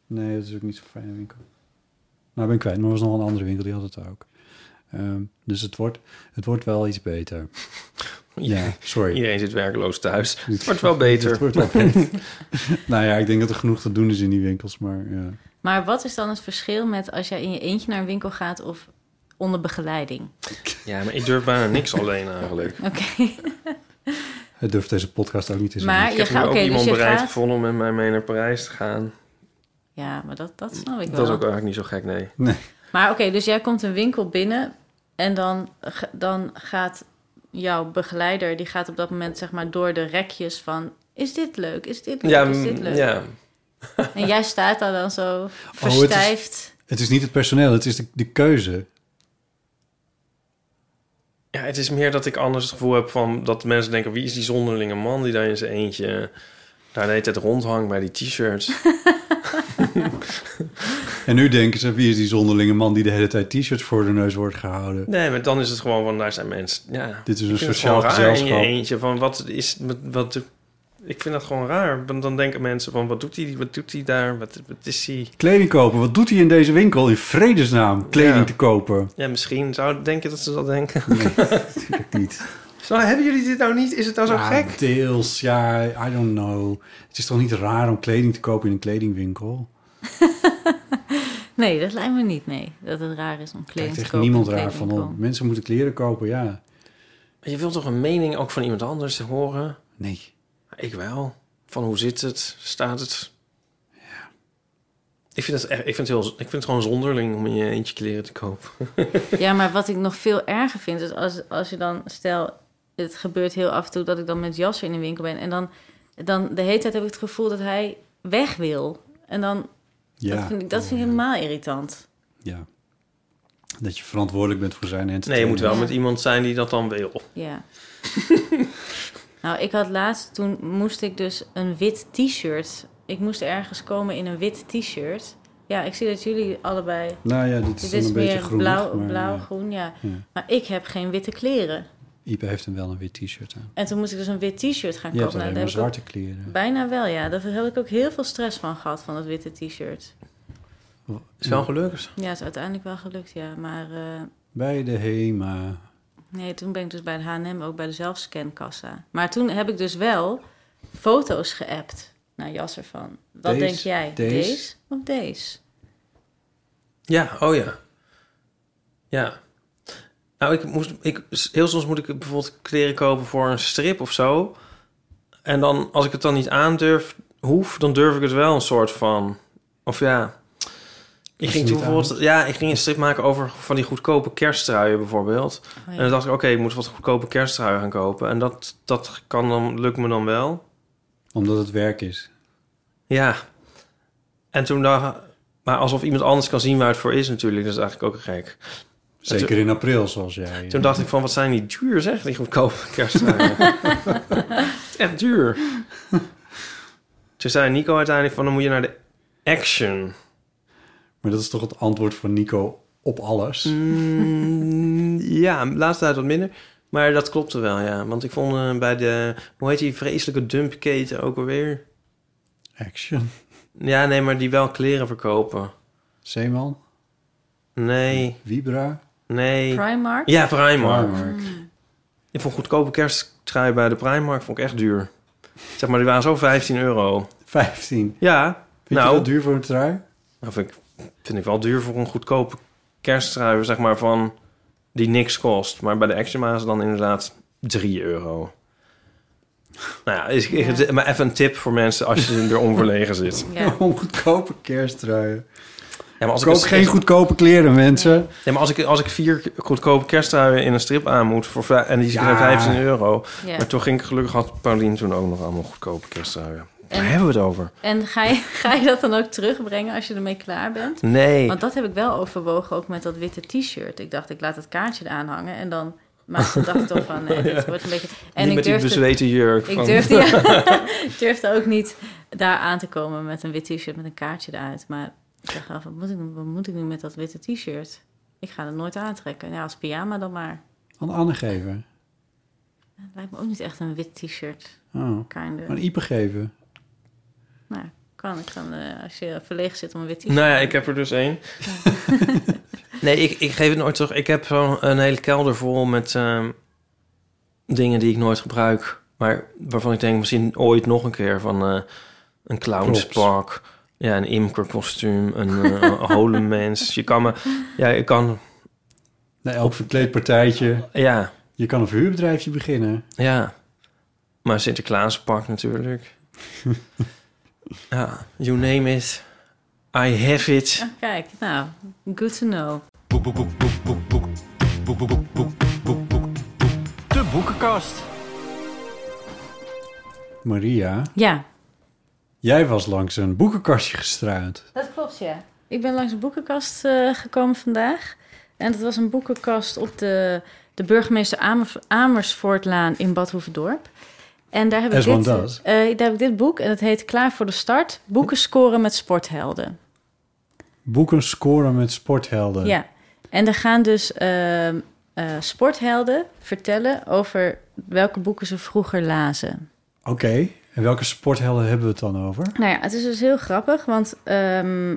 Nee, dat is ook niet zo'n fijne winkel. Nou, ben ik kwijt. Maar er was nog een andere winkel, die had het ook. Ehm, dus het wordt, het wordt wel iets
[LAUGHS]
beter. Ja, sorry.
Iedereen zit werkloos [LAUGHS] thuis. Het wordt wel beter.
Het wordt wel beter. [LAUGHS] nou ja, ik denk dat er genoeg te doen is in die winkels, maar ja.
Maar wat is dan het verschil met als jij in je eentje naar een winkel gaat of onder begeleiding?
Dus Ja, maar ik durf bijna niks alleen eigenlijk.
Oké.
Het durft deze podcast ook niet te zeggen.
Maar
Ik
je
heb nu
gaat...
ook
Oké, dus
iemand
je
bereid
gaat...
gevonden om met mij mee naar Parijs te gaan.
Ja, maar dat, dat snap ik wel.
Dat is ook eigenlijk niet zo gek, nee.
Maar oké, dus jij komt een winkel binnen en dan, g- dan gaat jouw begeleider, die gaat op dat moment zeg maar door de rekjes van, is dit leuk, is dit leuk,
Ja,
is dit
mm,
leuk?
ja.
En jij staat daar dan zo
Oh, is-
verstijfd.
Het is niet het personeel, het is de, de keuze.
ja, het is meer dat ik anders het gevoel heb van dat mensen denken: wie is die zonderlinge man die daar in zijn eentje daar de hele tijd rondhangt bij die [LAUGHS] t-shirts?
En nu denken ze, wie is die zonderlinge man die de hele tijd t-shirts voor de neus wordt gehouden?
Nee, maar dan is het gewoon van daar zijn mensen. Ja,
Dit is een
Ik vind het
sociaal
gewoon raar in je
gezelschap.
eentje van wat is wat, wat ik vind dat gewoon raar. Want dan denken mensen van wat doet hij wat doet hij daar? Wat, wat is hij?
Kleding kopen, wat doet hij in deze winkel in vredesnaam? Kleding
Ja.
te kopen?
Ja, misschien zou denken dat ze dat denken.
Natuurlijk niet.
Zo, hebben jullie dit [LAUGHS] nou niet? Is het nou zo
Ja,
gek?
Deels, ja, I don't know. Het is toch niet raar om kleding te kopen in een kledingwinkel?
Nee, dat lijkt me niet, nee. Dat het raar is om kleding
Kijkt
te
echt
kopen.
niemand
in een
raar van.
kledingwinkel.
oh, mensen moeten kleren kopen, ja.
Je wilt toch een mening ook van iemand anders horen?
Nee.
Ik wel. Van hoe zit het? Staat het? Ik vind, het, echt- ik, vind het heel, ik vind het gewoon zonderling om in je eentje kleren te kopen.
Ja, maar wat ik nog veel erger vind, is als, als je dan, stel, het gebeurt heel af en toe dat ik dan met Jasser in de winkel ben. En dan, dan de hele tijd heb ik het gevoel dat hij weg wil. En dan, dat
Ja,
vind ik, dat vind ik helemaal irritant.
ja. Dat je verantwoordelijk bent voor zijn entertainment.
Nee, je moet wel met iemand zijn die dat dan wil.
[LAUGHS]
Ja. nou, ik had laatst, toen moest ik dus een wit t-shirt. Ik moest ergens komen in een wit t-shirt. Ja, ik zie dat jullie allebei...
Nou ja, dit is
Dit
dan
is
een beetje
meer
groen.
blauw,
maar, eh,
blauw
ja.
groen, ja.
Ja.
Maar ik heb geen witte kleren.
Ipe heeft hem wel een wit t-shirt aan.
En toen moest ik dus een wit t-shirt gaan
Je hebt
kopen. Nou,
alleen
daar
maar
heb ik
zwarte
ook-
kleren.
Bijna wel, ja. Daar heb ik ook heel veel stress van gehad, van dat witte t-shirt.
Is wel gelukkig.
Ja, is uiteindelijk wel gelukt, ja. Maar eh,
Bij de HEMA.
nee, toen ben ik dus bij de H&M ook bij de zelfscankassa. Maar toen heb ik dus wel foto's geappt naar Jas ervan. Wat
Deze,
denk jij?
deze?
Deze of deze?
Ja, oh ja. Ja. Nou, ik moest, ik, heel soms moet ik bijvoorbeeld kleren kopen voor een strip of zo. En dan, als ik het dan niet aandurf, hoef, dan durf ik het wel een soort van. Of ja. Ik
Als
ging
je
toen
niet
bijvoorbeeld, ja, ik ging een strip maken over van die goedkope kersttruien bijvoorbeeld.
Oh,
En
ja.
dan dacht ik, oké, ik moet wat goedkope kersttruien gaan kopen. En dat, dat kan dan, lukt me dan wel.
Omdat het werk is.
Ja. En toen dacht Maar alsof iemand anders kan zien waar het voor is natuurlijk. Dat is eigenlijk ook gek.
Zeker in april, zoals jij.
Toen dacht ik van, wat zijn die duur zeg, die goedkope kerstdagen. Het is [LAUGHS] echt duur. Toen zei Nico uiteindelijk van, dan moet je naar de action.
Maar dat is toch het antwoord van Nico op alles?
Mm, ja, de laatste tijd wat minder. Maar dat klopte wel, ja. Want ik vond eh, bij de, hoe heet die vreselijke dumpketen ook alweer?
Action.
Ja, nee, maar die wel kleren verkopen.
Zeeman.
Nee,
Vibra.
nee.
[LAUGHS]
Primark?
Ja, Primark.
Primark.
Ik vond goedkope kersttrui bij de Primark vond ik echt duur. Zeg maar, die waren zo 15 euro.
15.
Ja,
Vind
nou,
je dat duur voor een trui?
nou vind, ik, vind ik wel duur voor een goedkope kersttrui, zeg maar, van die niks kost. Maar bij de Action is dan inderdaad 3 euro. Nou ja, is, is- maar even een tip voor mensen als je
[LAUGHS]
er onverlegen zit.
Ja.
Om goedkope kersttruien.
Ja, maar als
Koop
ik,
geen goedkope kleren, mensen.
Nee, maar als ik, als ik vier goedkope kersttruien in een strip aan moet voor, vij- en die zijn
Ja.
15 euro.
Ja.
Maar toen ging ik gelukkig had Paulien toen ook nog allemaal goedkope kersttruien. Daar
En-
hebben we het over.
En ga je, [LAUGHS] ga je dat dan ook terugbrengen als je ermee klaar bent?
Nee.
Want dat heb ik wel overwogen, ook met dat witte t-shirt. Ik dacht, ik laat het kaartje eraan hangen en dan... Maar toen dacht ik toch
[LAUGHS]
van, nee, dit wordt een beetje...
niet
En ik
met die
durfde,
bezweten jurk.
ik
van-
durfde, ja,
[LAUGHS]
ik durfde [LAUGHS] ook niet daar aan te komen met een wit t-shirt met een kaartje eruit. Maar ik dacht wel, wat moet ik, nu- wat moet ik nu met dat witte t-shirt? Ik ga het nooit aantrekken. Ja, als pyjama dan maar.
Aan Anne geven.
Het lijkt me ook niet echt een wit t-shirt.
Oh.
Kinder.
Aan Ipe geven.
Nou, kan ik dan, eh, als je verlegen zit om een wit t-shirt...
Nou ja, ik heb er dus één. [LAUGHS] nee, ik, ik geef het nooit terug. Ik heb zo'n een hele kelder vol met ehm, dingen die ik nooit gebruik. Maar waarvan ik denk misschien ooit nog een keer van eh, een clownspak. Ja, een imkerkostuum, een eh holemens. Je kan me... Ja, je kan...
Na elk verkleedpartijtje.
Ja,
Je kan een verhuurbedrijfje beginnen.
ja. Maar Sinterklaaspak natuurlijk. ja, you name it. I have it.
Ah, Kijk, nou, good to know.
De boekenkast.
Maria,
Ja,
jij was langs een boekenkastje gestruind.
Dat klopt, ja. Ik ben langs een boekenkast eh, gekomen vandaag. En dat was een boekenkast op de, de burgemeester Amers, Amersfoortlaan in Bad Hoeverdorp. En daar heb, ik
As one
dit,
does.
eh, daar heb ik dit boek en dat heet Klaar voor de Start. Boeken scoren met sporthelden.
Boeken scoren met sporthelden.
Ja, en er gaan dus ehm, eh, sporthelden vertellen over welke boeken ze vroeger lazen.
Oké, en welke sporthelden hebben we het dan over?
Nou ja, het is dus heel grappig, want... ehm,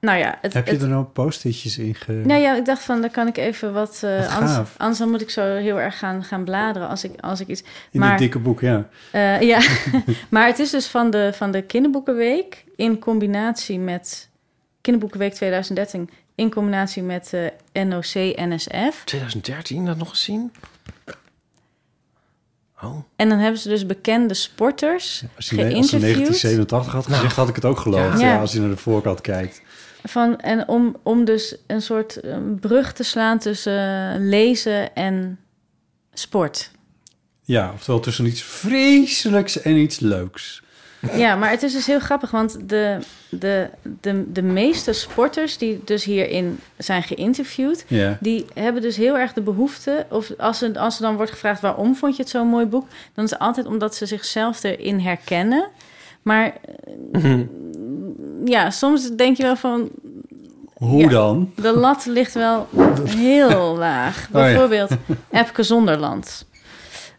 nou ja, het,
Heb je
het-
er nou post-itjes in ge...
Nou ja, ik dacht van, dan kan ik even wat... eh,
Wat
anders,
gaaf.
anders dan moet ik zo heel erg gaan, gaan bladeren als ik, als ik iets...
in
maar-
dit dikke boek, ja.
Eh,
[LAUGHS]
ja, [LAUGHS] maar het is dus van de, van de kinderboekenweek... in combinatie met... Kinderboekenweek 2013... in combinatie met eh NOC-NSF.
2013 dat nog gezien? Oh.
En dan hebben ze dus bekende sporters
Als hij, als hij
geïnterviewd.
1987 had gezegd, had ik het ook geloofd.
Ja.
Ja.
Ja.
als je naar de voorkant kijkt.
Van, en om, om dus een soort eh, brug te slaan tussen eh, lezen en sport.
Ja, oftewel tussen iets vreselijks en iets leuks.
Ja, maar het is dus heel grappig, want de, de, de, de meeste sporters die dus hierin zijn geïnterviewd,
Ja.
die hebben dus heel erg de behoefte, of als ze, als ze dan wordt gevraagd waarom vond je het zo'n mooi boek, dan is het altijd omdat ze zichzelf erin herkennen. Maar eh, ja, soms denk je wel van,
Hoe
Ja.
dan?
de lat ligt wel heel laag.
Oh, ja.
Bijvoorbeeld Epke Zonderland.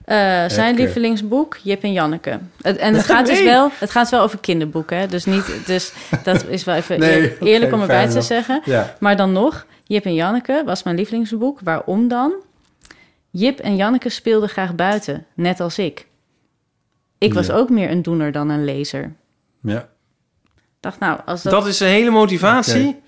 Eh, zijn
Epke.
lievelingsboek, Jip en Janneke. Het- En
[LAUGHS]
het gaat, dus wel, het gaat wel over kinderboeken. Hè? Dus, niet, dus dat is wel even
Nee,
eer- eerlijk
oké,
om erbij
fair
te
enough.
zeggen.
Ja.
Maar dan nog, Jip en Janneke was mijn lievelingsboek. Waarom dan? Jip en Janneke speelden graag buiten, net als ik. Ik was
Ja.
ook meer een doener dan een lezer. Ik
ja.
dacht, nou, als
Dat is de hele motivatie.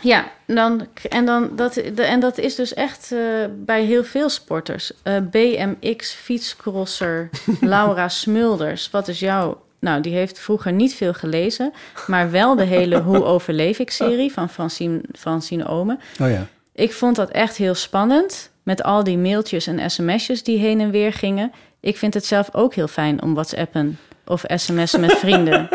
ja, dan, en, dan, dat, de- en dat is dus echt eh, bij heel veel sporters. Eh, BMX, fietscrosser, Laura Smulders. Wat is jouw... Nou, die heeft vroeger niet veel gelezen... maar wel de hele Hoe overleef ik-serie van Francine, Francine Omen.
Oh ja.
Ik vond dat echt heel spannend... met al die mailtjes en sms'jes die heen en weer gingen. Ik vind het zelf ook heel fijn om whatsappen of sms'en met vrienden.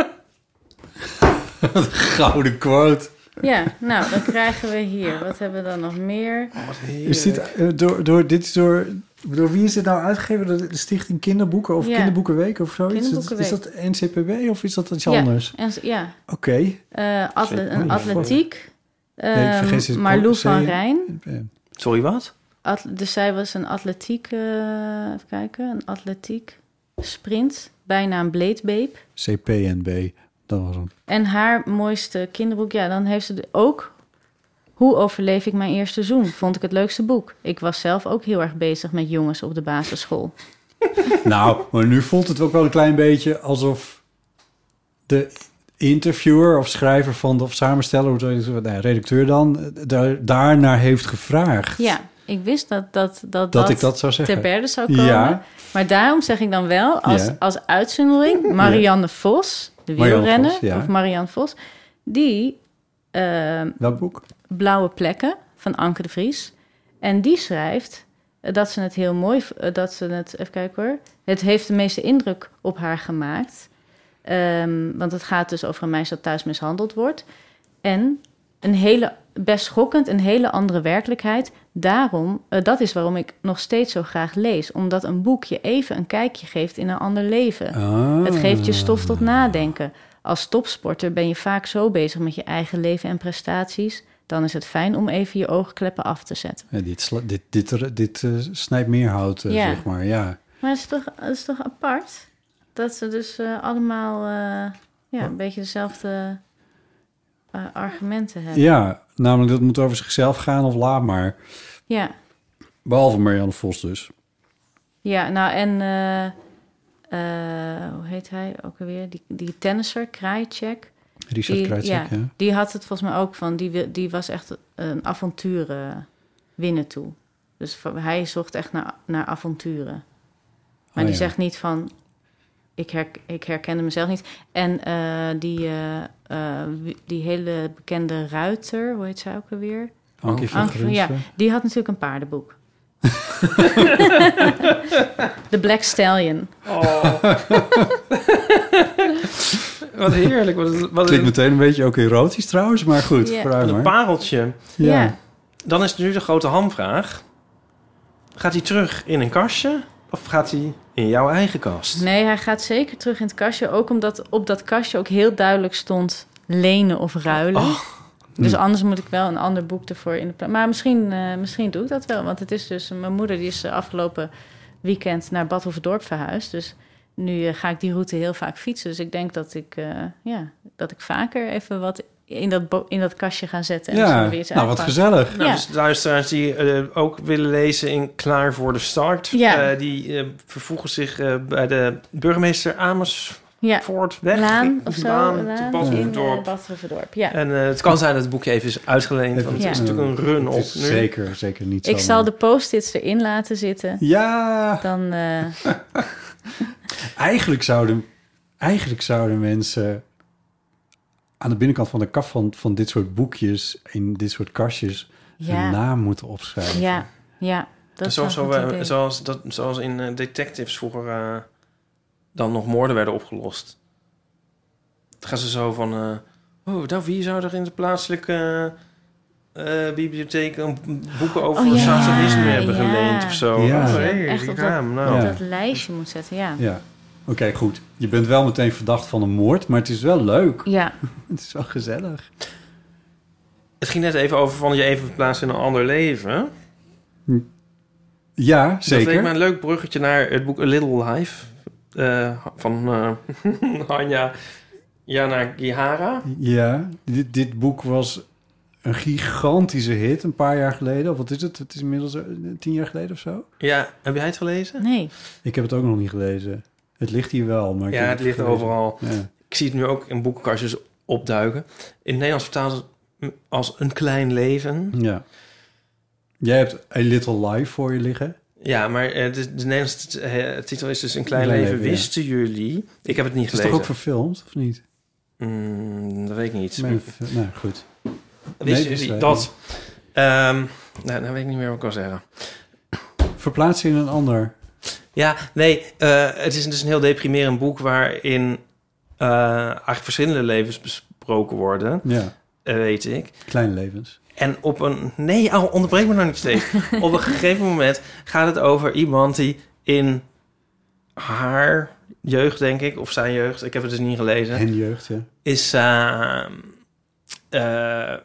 Gouden quote.
Ja, nou, dan krijgen we hier. Wat hebben we dan nog meer?
Is dit, eh, door, door, dit is door, door wie is dit nou uitgegeven? Door de Stichting Kinderboeken of
Ja.
Kinderboekenweek of zoiets? Is dat- Is dat
Kinderboekenweek.
NCPB of is dat iets
Ja,
anders?
en z- ja,
Oké.
eh, atle-
Zeker.
een atletiek.
ik
ehm,
vergis het.
Marlou
Zei
van
je-
Rijn.
Eh,
Sorry, wat?
Atl- dus zij was een atletiek, eh, even kijken, een atletiek sprint. Bijna een bleedbeep.
CPNB. Dat was hem.
En haar mooiste kinderboek, ja, dan heeft ze de- ook... Hoe overleef ik mijn eerste zoen? Vond ik het leukste boek. Ik was zelf ook heel erg bezig met jongens op de basisschool.
Nou, maar nu voelt het ook wel een klein beetje alsof de interviewer of schrijver van de, of samensteller, hoe zou je het zeggen, nou, redacteur dan, eh, daar, daarnaar heeft gevraagd.
Ja, ik wist dat dat, dat,
Dat, ik dat zou zeggen.
ter berde zou komen.
Ja.
Maar daarom zeg ik dan wel als,
Ja.
als uitzondering Marianne Vos, de
Marianne
wielrenner,
Vos, ja.
of Marianne Vos, die ehm,
Welk boek?
Blauwe Plekken van Anke de Vries. En die schrijft eh, dat ze het heel mooi, v- eh, dat ze het, even kijken hoor, het heeft de meeste indruk op haar gemaakt. Ehm, want het gaat dus over een meisje dat thuis mishandeld wordt. En een hele, best schokkend, een hele andere werkelijkheid. Daarom, eh, dat is waarom ik nog steeds zo graag lees. Omdat een boekje even een kijkje geeft in een ander leven.
Ah.
Het geeft je stof tot nadenken. Als topsporter ben je vaak zo bezig met je eigen leven en prestaties. Dan is het fijn om even je oogkleppen af te zetten.
Ja, dit sla- dit, dit, er- dit eh, snijdt meer hout, eh,
Ja.
zeg maar. Ja.
Maar het is toch, het is toch apart? Dat ze dus eh, allemaal eh, ja, een beetje dezelfde eh, argumenten hebben. Ja.
ja, namelijk dat het moet over zichzelf gaan of laat maar.
ja.
Behalve Marianne Vos dus.
nou en eh, eh, hoe heet hij ook alweer? Die, die tennisser, Krajicek.
Richard
Die-
Kruijtsek, ja.
Die had het volgens mij ook van, die, wil- die was echt een avonturen winnen toe. Dus van- hij zocht echt naar, naar avonturen. Maar
Oh,
die
ja.
zegt niet van, ik, herk, ik herkende mezelf niet. En eh, die, eh, eh, wie- die hele bekende ruiter, hoe heet zij ook alweer?
Ankie van
Anke van- Oh, ja,
Grunsven.
die had natuurlijk een
[LAUGHS]
paardenboek. [LAUGHS] De Black Stallion.
Wat heerlijk. Wat, wat
Klinkt
een
meteen een beetje ook erotisch trouwens, maar goed,
Ja.
vooruit maar.
pareltje.
Ja.
Dan is nu de grote hamvraag. Gaat hij terug in een kastje? Of gaat hij in jouw eigen kast?
Nee, hij gaat zeker terug in het kastje. Ook omdat op dat kastje ook heel duidelijk stond lenen of ruilen.
Oh.
Dus
Hm.
anders moet ik wel een ander boek ervoor in de pla- Maar misschien, eh, misschien doe ik dat wel. Want het is dus... Mijn moeder die is eh, afgelopen weekend naar Bad Hoefdorp verhuisd. Dus nu eh, ga ik die route heel vaak fietsen. Dus ik denk dat ik, eh, ja, dat ik vaker even wat in dat, bo- in dat kastje ga zetten. En
Ja,
zo weer iets
nou wat
uitpakken.
gezellig.
Nou,
Ja.
Dus luisteraars die eh, ook willen lezen in Klaar voor de Start...
Ja.
eh, die eh, vervoegen zich eh, bij de burgemeester Amersfoort
Ja,
weg.
Laan of zo.
Laan, te
Laan
Bad
in, eh,
Hoefdorp.
Bad Hoefdorp, ja.
En eh, het kan zijn dat het boekje even is uitgeleend... want
Ja.
het is natuurlijk een run op
Het
nu.
is Zeker, zeker niet
Ik
zomaar.
zal de post-its erin laten zitten.
Ja!
Dan eh,
Eigenlijk zouden, eigenlijk zouden mensen aan de binnenkant van de kaf van, van dit soort boekjes, in dit soort kastjes,
Ja.
hun naam moeten opschrijven.
Ja, ja. Dat is
zoals,
wel een
zo-
goed
eh,
idee.
zoals, dat, zoals in eh, detectives vroeger eh, dan nog moorden werden opgelost. Dan gaan ze zo van... eh, oh, nou, wie zou er in de plaatselijke eh, eh, bibliotheek een boeken over
Oh, ja.
satanisme hebben
Ja.
geleend of zo?
Ja.
Oh,
Ja,
hey,
echt
die
op dat-
raam, nou.
Ja.
Dat lijstje moet zetten, ja.
Ja. Oké, goed. Je bent wel meteen verdacht van een moord, maar het is wel leuk.
Ja,
Het is wel gezellig.
Het ging net even over van je even verplaatsen in een ander leven.
Ja,
Dat leek me
zeker.
een leuk bruggetje naar het boek A Little Life eh, van eh [LAUGHS] Hanya Yanagihara.
Ja, dit, dit boek was een gigantische hit een paar jaar geleden. Of wat is het? Het is inmiddels eh, tien jaar geleden of zo.
Ja, heb jij het gelezen?
nee.
Ik heb het ook nog niet gelezen. Het ligt hier wel, maar... ik
Ja,
heb
het ligt
gelezen.
overal.
Ja.
Ik zie het nu ook in boekenkastjes opduiken. In het Nederlands vertaald is het als een klein leven.
ja. Jij hebt A Little Life voor je liggen.
Ja, maar eh, de, de Nederlandse t- eh, titel is dus een klein
Een klein
leven.
leven, ja.
Wisten jullie? Ik heb het niet
Het is
gelezen.
toch ook verfilmd, of niet?
Mm, dat weet ik niet.
Nee, ver- nou, goed.
Wisten
Nee,
jullie
wist wij
dat? Ehm nou, dan weet ik niet meer wat ik wil zeggen.
Verplaats je in een ander.
Ja, nee, eh, het is dus een heel deprimerend boek waarin eh, eigenlijk verschillende levens besproken worden,
Ja,
eh, weet ik.
kleine levens.
En op een... Nee, au, onderbreek me nou niet steeds. op een gegeven moment gaat het over iemand die in haar jeugd, denk ik, of zijn jeugd, ik heb het dus niet gelezen,
En jeugd, ja.
is eh, eh,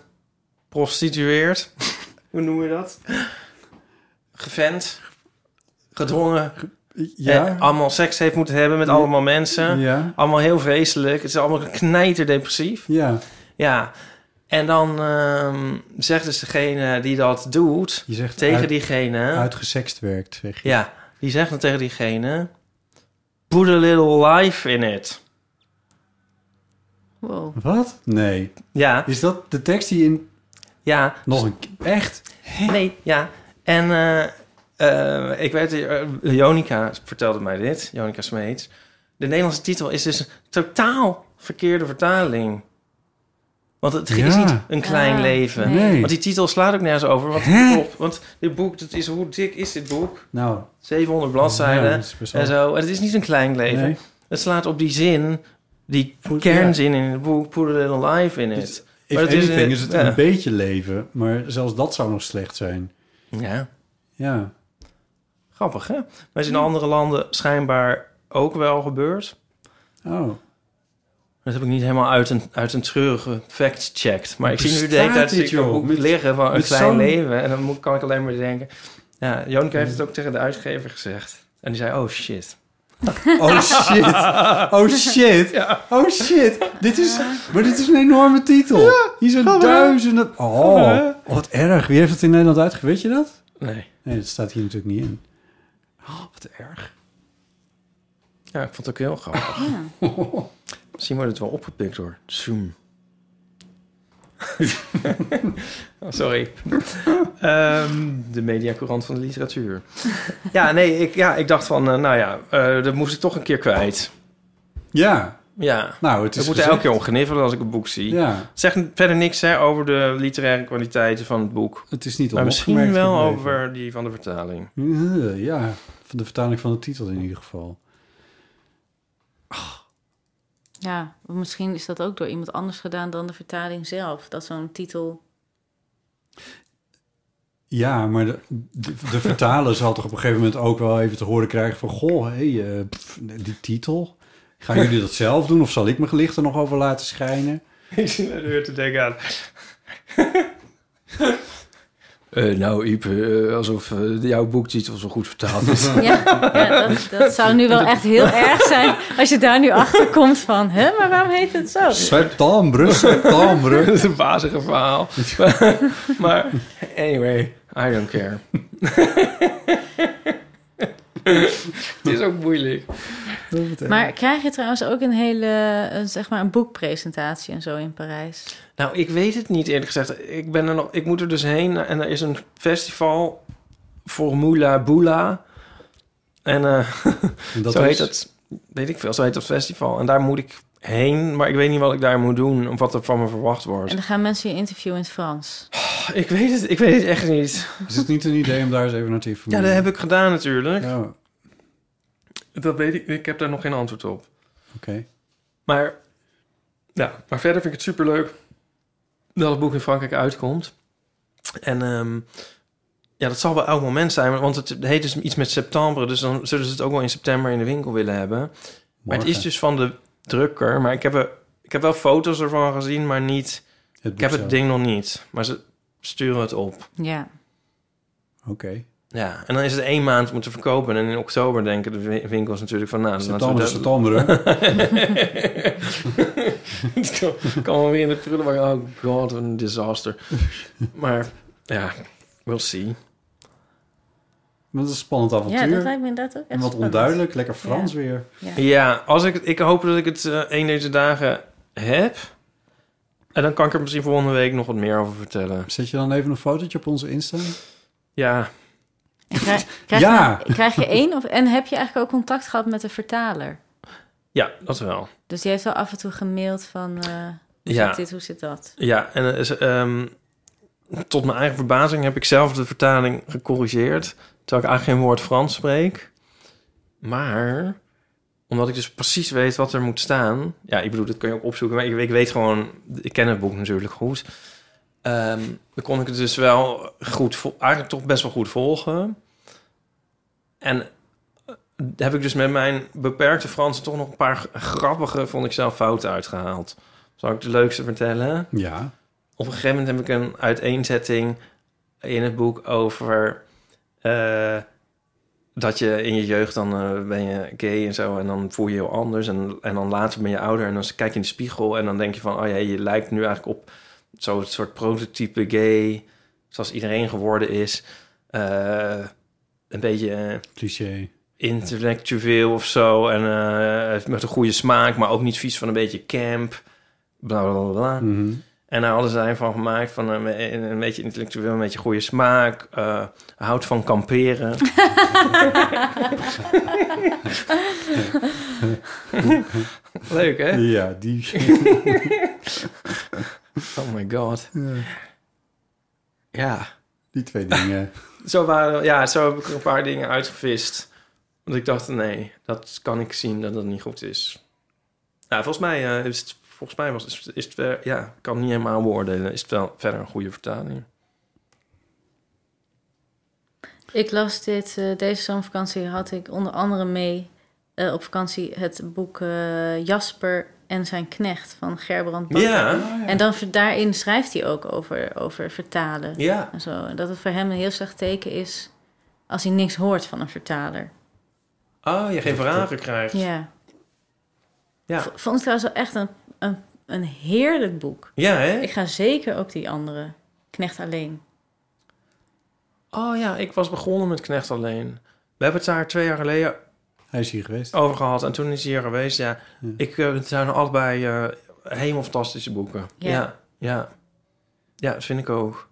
uitgeprostitueerd. [LAUGHS] Hoe noem je dat? Gevent. Gedwongen.
Ja,
En allemaal seks heeft moeten hebben met
Ja.
allemaal mensen.
ja,
Allemaal heel vreselijk. Het is allemaal knijterdepressief.
ja.
Ja. En dan ehm, zegt dus degene die dat doet
Je zegt
tegen
uit-
diegene.
uitgesext werkt, zeg je.
Ja, die zegt dan tegen diegene. Put a little life in it.
Wow.
Wat? Nee.
Ja,
Is dat de tekst die in...
ja,
Nog een ke- Echt?
nee, ja. En eh, eh, ik weet, eh, Jonica vertelde mij dit, Jonica Smeets. De Nederlandse titel is dus een totaal verkeerde vertaling. Want het is
Ja.
niet een klein
Ah,
leven.
Nee.
Nee.
Want die titel slaat ook nergens over. Want,
Hè?
klopt, want dit boek, dat is, hoe dik is dit boek?
Nou,
700 bladzijden
ja, dat is best wel-
en zo. En het is niet een klein leven.
Nee.
Het slaat op die zin, die
Voelt-
kernzin in het boek, put a little life in
Dus-
it.
If
Maar het is,
anything
eh,
is, het
ja.
een beetje leven, maar zelfs dat zou nog slecht zijn.
Ja,
Ja,
grappig hè? Maar het is in andere landen schijnbaar ook wel gebeurd.
oh.
Dat heb ik niet helemaal uit een, uit een treurige fact checked. Maar ik zie nu de hele
Bestaat
tijd
dit,
zie ik dat
joh?
boek
Met-
liggen van een
met
klein
zo'n-
leven. En dan moet, kan ik alleen maar denken... Ja, Jonica heeft het ook tegen de uitgever gezegd. En die zei, oh shit.
Oh shit. Oh shit. Oh shit. Dit is, maar dit is een enorme titel. Hier zijn duizenden. Oh, wat erg. Wie heeft het in Nederland uitgegeven? Weet je dat?
Nee.
Nee, dat staat hier natuurlijk niet in. Oh, wat erg.
Ja, ik vond het ook heel grappig. [LAUGHS] Misschien wordt het wel opgepikt hoor.
[LAUGHS]
Zoom. Oh, sorry. Ehm, de mediacourant van de literatuur. ja, nee, ik, ja, ik dacht van, eh, nou ja, eh, dat moest ik toch een keer kwijt.
Ja,
Ja,
nou, het is.
ik moet er
gezegd.
elke keer om gniffelen als ik een boek zie.
Ja,
Het zegt verder niks hè, over de literaire kwaliteiten van het boek.
het is niet
Maar misschien
onopgemerkt
wel
gebleven.
over die van de vertaling.
Eh, Ja, van de vertaling van de titel in ieder geval.
Ja, misschien is dat ook door iemand anders gedaan dan de vertaling zelf. Dat zo'n titel...
Ja, maar de, de, de vertaler zal toch op een gegeven moment ook wel even te horen krijgen van... Goh, hé, eh, pff, die titel. Gaan jullie dat zelf doen of zal ik mijn gelicht er nog over laten schijnen?
Ik zit naar de deur te denken aan. Eh, nou, Iep, eh, alsof eh, jouw boektitel zo goed vertaald [LAUGHS] is.
Ja, ja dat, dat zou nu wel echt heel erg zijn als je daar nu achter komt van... Hè, maar waarom heet het zo?
Septembre,
Dat
septembre. [LAUGHS]
is een bazige verhaal. Maar, maar anyway, I don't care. Het is ook moeilijk.
Maar krijg je trouwens ook een hele, eh, zeg maar, een boekpresentatie en zo in Parijs?
Nou, ik weet het niet eerlijk gezegd. Ik, ben er nog, ik moet er dus heen en er is een festival, Formula Bula. En eh,
En dat
zo
is-
heet dat, weet ik veel, zo heet dat festival. En daar moet ik heen, maar ik weet niet wat ik daar moet doen... of wat er van me verwacht wordt. Oh,
En dan gaan mensen je interviewen in het Frans.
Ik weet het, ik weet het echt niet.
Is het niet een idee om daar eens even naar te
Ja,
informeren? Oh,
dat heb ik gedaan natuurlijk.
Ja, oké.
Dat weet ik, ik heb daar nog geen antwoord op. Maar, ja, maar verder vind ik het superleuk dat het boek in Frankrijk uitkomt. En ehm, ja, dat zal wel elk moment zijn, want het heet dus iets met september. Dus dan zullen ze het ook wel in september in de winkel willen hebben. Maar het
Morgen.
is dus van de drukker. Maar ik heb, er, ik heb wel foto's ervan gezien, maar niet...
boek
Ik heb
zelf.
het ding nog niet, maar ze sturen het op.
Ja.
Oké.
Ja, en dan is het één maand moeten verkopen. En in oktober denken de win- winkels natuurlijk van... Nou, laten we
September is
dat-
september,
[LAUGHS]
hè?
Het kan- kan wel weer in de prullenbak. Oh god, wat een disaster. Maar ja, we'll see.
Dat is een spannend avontuur.
ja, dat lijkt me inderdaad ook echt
en wat
spannend.
onduidelijk, lekker Frans
Ja.
weer.
Ja, als ik, ik hoop dat ik het eh, een deze dagen heb. En dan kan ik er misschien volgende week nog wat meer over vertellen.
Zet je dan even een fotootje op onze Insta?
Ja,
En
[LAUGHS]
Krijg, krijg
Ja.
Je, krijg je één of... En heb je eigenlijk ook contact gehad met de vertaler?
ja dat wel.
Dus die heeft wel af en toe gemaild van... eh, hoe
Ja.
zit dit, hoe zit dat?
Ja, en eh, is, ehm, tot mijn eigen verbazing heb ik zelf de vertaling gecorrigeerd. Terwijl ik eigenlijk geen woord Frans spreek. Maar omdat ik dus precies weet wat er moet staan. Ja, ik bedoel, dat kun je ook opzoeken. Maar ik, ik weet gewoon, ik ken het boek natuurlijk goed. Ehm, dan kon ik het dus wel goed, vol- eigenlijk toch best wel goed volgen. En eh, heb ik dus met mijn beperkte Frans toch nog een paar g- grappige, vond ik zelf, fouten uitgehaald. Zal ik de leukste vertellen?
Ja.
op een gegeven moment heb ik een uiteenzetting in het boek over eh, dat je in je jeugd dan eh, ben je gay en zo en dan voel je je heel anders en, en dan later ben je ouder en dan kijk je in de spiegel en dan denk je van oh ja je lijkt nu eigenlijk op zo'n soort prototype gay zoals iedereen geworden is Eh, een beetje eh,
Cliché.
intellectueel of zo en eh, met een goede smaak maar ook niet vies van een beetje camp bla bla bla, bla.
Mhm.
En daar hadden zij van gemaakt van een, een- een beetje intellectueel, een beetje goede smaak, eh, houdt van kamperen. [LAUGHS] Leuk, hè?
Ja, die... [LAUGHS]
Oh my god. Ja.
Die twee dingen.
Zo, waren, ja, zo heb ik er een paar dingen uitgevist. Want ik dacht, nee, dat kan ik zien dat dat niet goed is. Nou, volgens mij, eh, is, het, volgens mij was, is, is het... ver- Ja, ik kan het niet helemaal beoordelen. Is het wel verder een goede vertaling?
Ik las dit, eh, deze zomervakantie had ik onder andere mee eh, op vakantie het boek eh, Jasper en zijn knecht van Gerbrand Bakker.
Oh, Ja,
En dan ver- daarin schrijft hij ook over, over vertalen.
ja.
En zo. En dat het voor hem een heel slecht teken is als hij niks hoort van een vertaler.
Oh, je geen vragen krijgt.
Ja.
Ja.
V- Vond ik trouwens wel echt een, een, een heerlijk boek.
Ja, hè?
Ik ga zeker ook die andere, Knecht Alleen.
Oh ja, ik was begonnen met Knecht alleen. We hebben het daar twee jaar geleden
Hij is hier geweest.
over gehad en toen is hij hier geweest. Ja, ik, eh, het zijn allebei eh helemaal fantastische boeken.
Ja.
ja, ja, Ja, dat vind ik ook.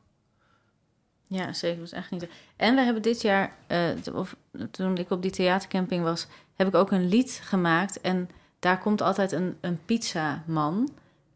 Ja, zeker. Dat is echt niet. En we hebben dit jaar, eh, t- of toen ik op die theatercamping was, heb ik ook een lied gemaakt. En daar komt altijd een, een pizzaman.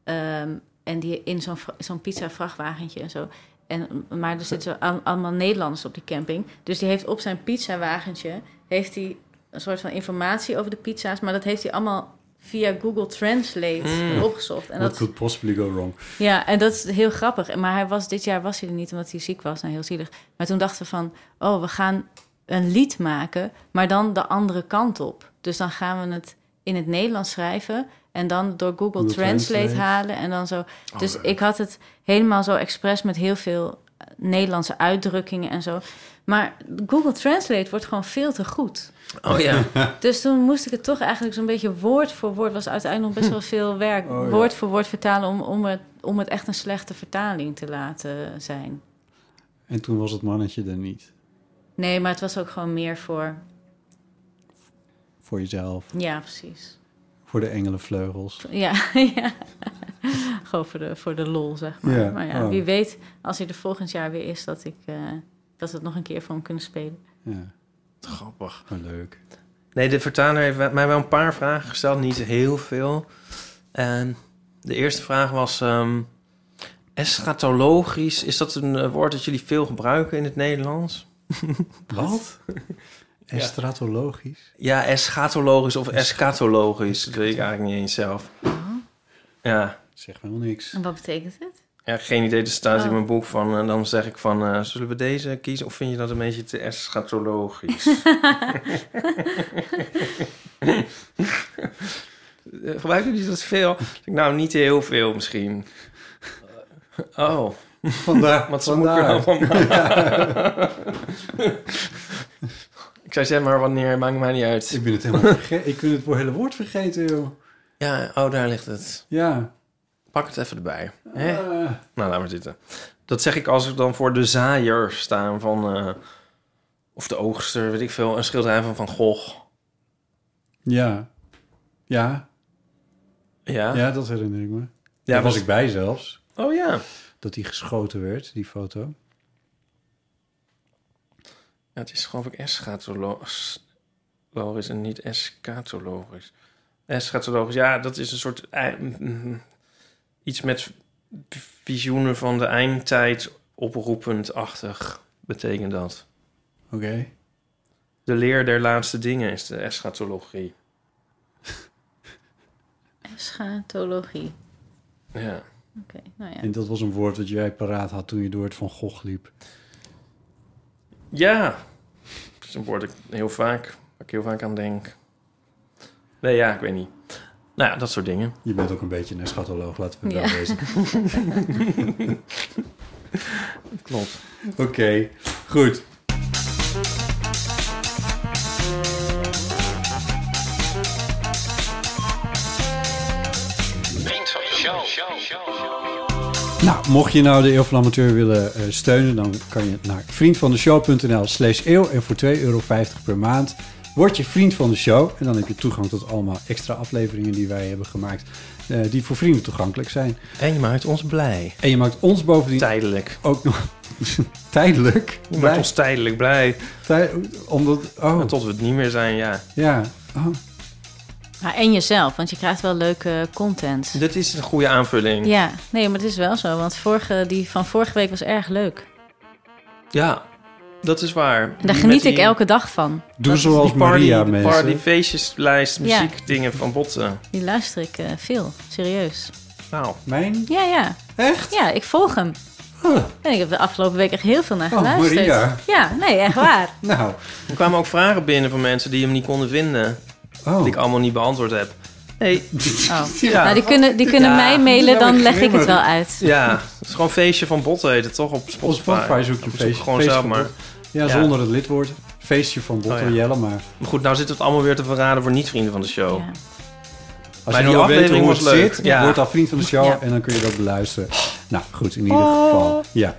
ehm, en die in zo'n vra- zo'n pizza vrachtwagentje en zo. En, maar er zitten zo al- allemaal Nederlanders op die camping. Dus die heeft op zijn pizzawagentje heeft hij een soort van informatie over de pizza's. Maar dat heeft hij allemaal via Google Translate opgezocht. En
What
dat,
could possibly go wrong?
ja, en dat is heel grappig. Maar hij was, dit jaar was hij er niet, omdat hij ziek was. Nou, heel zielig. Maar toen dachten we van, oh, we gaan een lied maken, maar dan de andere kant op. Dus dan gaan we het in het Nederlands schrijven... en dan door Google,
Google
Translate,
Translate. Oh,
halen en dan zo. Dus ik had het helemaal zo expres met heel veel eh, Nederlandse uitdrukkingen en zo. Maar Google Translate wordt gewoon veel te goed.
Oh ja.
Dus toen moest ik het toch eigenlijk zo'n beetje woord voor woord. was uiteindelijk nog best wel
[LAUGHS]
veel werk.
Oh, ja.
Woord voor woord vertalen om, om, het, om het echt een slechte vertaling te laten zijn.
En toen was het mannetje er niet.
Nee, maar het was ook gewoon meer voor.
Voor jezelf.
Ja, precies.
Voor de engelenvleugels.
Ja, [LAUGHS] ja. gewoon voor de, voor de lol, zeg maar.
Ja,
maar ja,
oh.
wie weet, als hij er volgend jaar weer is, dat, ik, eh, dat we het nog een keer voor hem kunnen spelen.
Ja.
Grappig.
Maar leuk.
Nee, de vertaler heeft mij wel een paar vragen gesteld, niet heel veel. En de eerste vraag was: ehm, eschatologisch, is dat een eh, woord dat jullie veel gebruiken in het Nederlands?
Wat? En stratologisch?
Ja, eschatologisch of eschatologisch, dat weet ik eigenlijk niet eens zelf. Ja,
Zeg maar nog niks.
[LAUGHS] En wat betekent het?
ja geen idee, er staat in
Oh.
mijn boek van. En dan zeg ik van, eh, zullen we deze kiezen of vind je dat een beetje te [LAUGHS] eschatologisch? Eh, Gebruiken jullie dat veel? Ik denk, Nou, niet heel veel misschien. Oh,
Vandaar.
wat moet ik er nou [LAUGHS] van maken? Ik zou zeggen, maar wanneer, maakt mij niet uit.
Ik ben het helemaal vergeten. Ik ben het hele woord vergeten, joh.
Ja, oh, daar ligt het.
Ja.
Pak het even erbij. Hè?
Eh,
Nou, laat maar zitten. Dat zeg ik als ik dan voor de zaaier staan van... eh, of de oogster, weet ik veel. Een schilderij van Van Gogh.
ja. Ja.
Ja?
Ja, dat herinner ik me.
Ja,
Daar was
was-
ik bij zelfs.
Oh ja.
Dat die geschoten werd, die foto.
ja het is geloof ik eschatologisch en niet eschatologisch. Eschatologisch, ja, dat is een soort... ei- mm, Iets met visioenen van de eindtijd oproepend-achtig betekent dat.
Oké.
De leer der laatste dingen is de eschatologie.
Schatologie.
Ja.
Oké, nou ja.
En dat was een woord dat jij paraat had toen je door het Van Gogh liep.
Ja. Dat is een woord dat ik heel vaak, waar ik heel vaak aan denk. Nee, ja, ik weet niet. Nou ja, dat soort dingen.
Je bent ook een beetje een schatoloog, laten we wel
Ja.
wezen.
Klopt.
Oké, goed. Nou, mocht je nou de Eeuw van de Amateur willen eh, steunen, dan kan je naar vriendvandeshow.nl slash eeuw. En voor 2,50 euro per maand word je vriend van de show. En dan heb je toegang tot allemaal extra afleveringen die wij hebben gemaakt, eh, die voor vrienden toegankelijk zijn.
En je maakt ons blij.
En je maakt ons bovendien
Tijdelijk.
ook nog [LAUGHS] tijdelijk.
Je maakt ons tijdelijk blij.
Tij- omdat, oh,
Maar Tot we het niet meer zijn, ja.
ja. Oh,
Maar en jezelf, want je krijgt wel leuke content.
Dit is een goede aanvulling. Ja.
Ja, nee, maar het is wel zo. Want vorige, die van vorige week was erg leuk.
dat is waar.
En daar geniet
Met
ik
die-
elke dag van.
doe
Dat-
zoals
die party,
Maria,
de
mensen.
party, feestjeslijst,
Ja.
muziekdingen van botten.
Die luister ik eh, veel, serieus.
Nou,
Mijn?
Ja, ja.
Echt?
Ja, ik volg hem. En ik heb de afgelopen week echt heel veel naar
Oh,
geluisterd.
Maria.
Ja, nee, echt waar.
Nou.
er kwamen ook vragen binnen van mensen die hem niet konden vinden.
Oh.
Die ik allemaal niet beantwoord heb. Nee,
[LAUGHS]
Oh.
Ja.
Nou, die kunnen, die kunnen
Ja,
mij mailen,
dat is
dan
wel
leg ik het
grimmig.
wel uit.
Ja, het is gewoon feestje van botten heet het toch op Spotify.
Op Spotify zoek je
Zoek
feestje.
Gewoon
feestje
zelf
van
maar.
Bot- Ja,
Ja.
zonder het lidwoord. Feestje van Botter
Oh, ja.
Jelle, maar...
Maar goed, nou zit het allemaal weer te verraden voor niet-vrienden van de show.
Ja.
Als
Bij
je
die
wil weten
aflevering
hoe
was
het
leuk.
zit,
Ja.
word al vriend van de show
Ja. Ah.
en dan kun je dat beluisteren. Nou, goed, in ieder geval. Ja.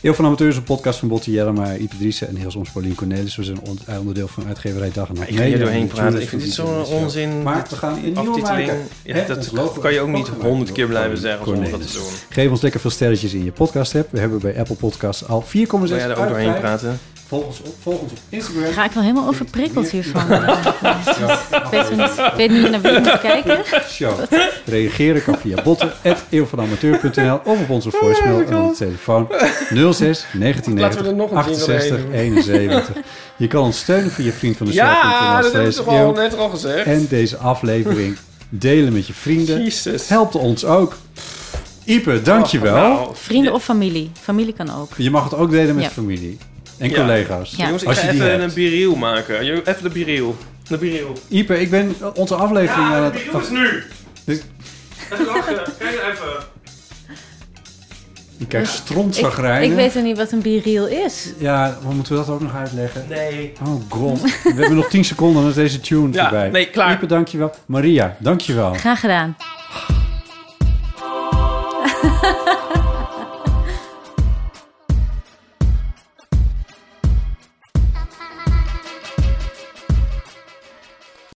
Heel van Amateurs, een podcast van Botte Jellema, Ipe Driessen en heel soms Paulien Cornelis. We zijn on- eh, onderdeel van uitgeverij Dag en Nacht
Ik ga hier
Media,
doorheen
en
praten.
natuurlijk
Ik vind dit
van
zo'n
Ipe Driessen.
onzin.
Maar we gaan een nieuwe
Aftiteling.
maken.
Ja,
Hè,
dat
ons
kan je ook
wordt
niet
gemaakt
honderd
door
keer blijven
Paulien
zeggen zonder dat te
Cornelis.
doen.
Geef ons lekker veel sterretjes in je podcast app. We hebben bij Apple Podcasts al 4,6
Wil jij
uit
daar ook doorheen
vijf.
praten?
Volg ons op, volg ons op Instagram.
Dan ga ik wel helemaal overprikkeld hiervan. Ik weet, wel niet, ik weet niet naar wie ik moet kijken.
Show. Reageren kan via botten.eeuwvanamateur.nl of op onze voicemail en onze telefoon 06
Laten we er nog een
1990
jingle
68
doorheen
71. Je kan ons steunen via vriend van de
Ja, dat
show.nl
heb ik
slash
toch al
eeuw.
net al gezegd.
En deze aflevering delen met je
eh,
vrienden.
Jezus.
Helpt ons ook. Ipe, dankjewel.
Nou,
Vrienden of familie. Familie kan ook.
Je mag het ook delen met
Ja.
familie en
Ja.
collega's.
Ja.
Jongens, ik
Als
ga
je die
even
hebt.
een biriel maken. Jullie- Even de biriel. De biriel.
Ipe, ik ben onze aflevering eh, aan het...
Doe het nu!
Dus-
Even lachen, kijk even.
Ik kijk
Ik,
strontzagrijnen.
ik weet er niet wat een biriel is.
Ja, maar moeten we dat ook nog uitleggen?
Nee.
Oh god, we hebben nog 10 seconden en dan is deze tune
Ja,
voorbij.
nee, klaar.
Ipe, dankjewel. Maria, dankjewel.
Graag gedaan.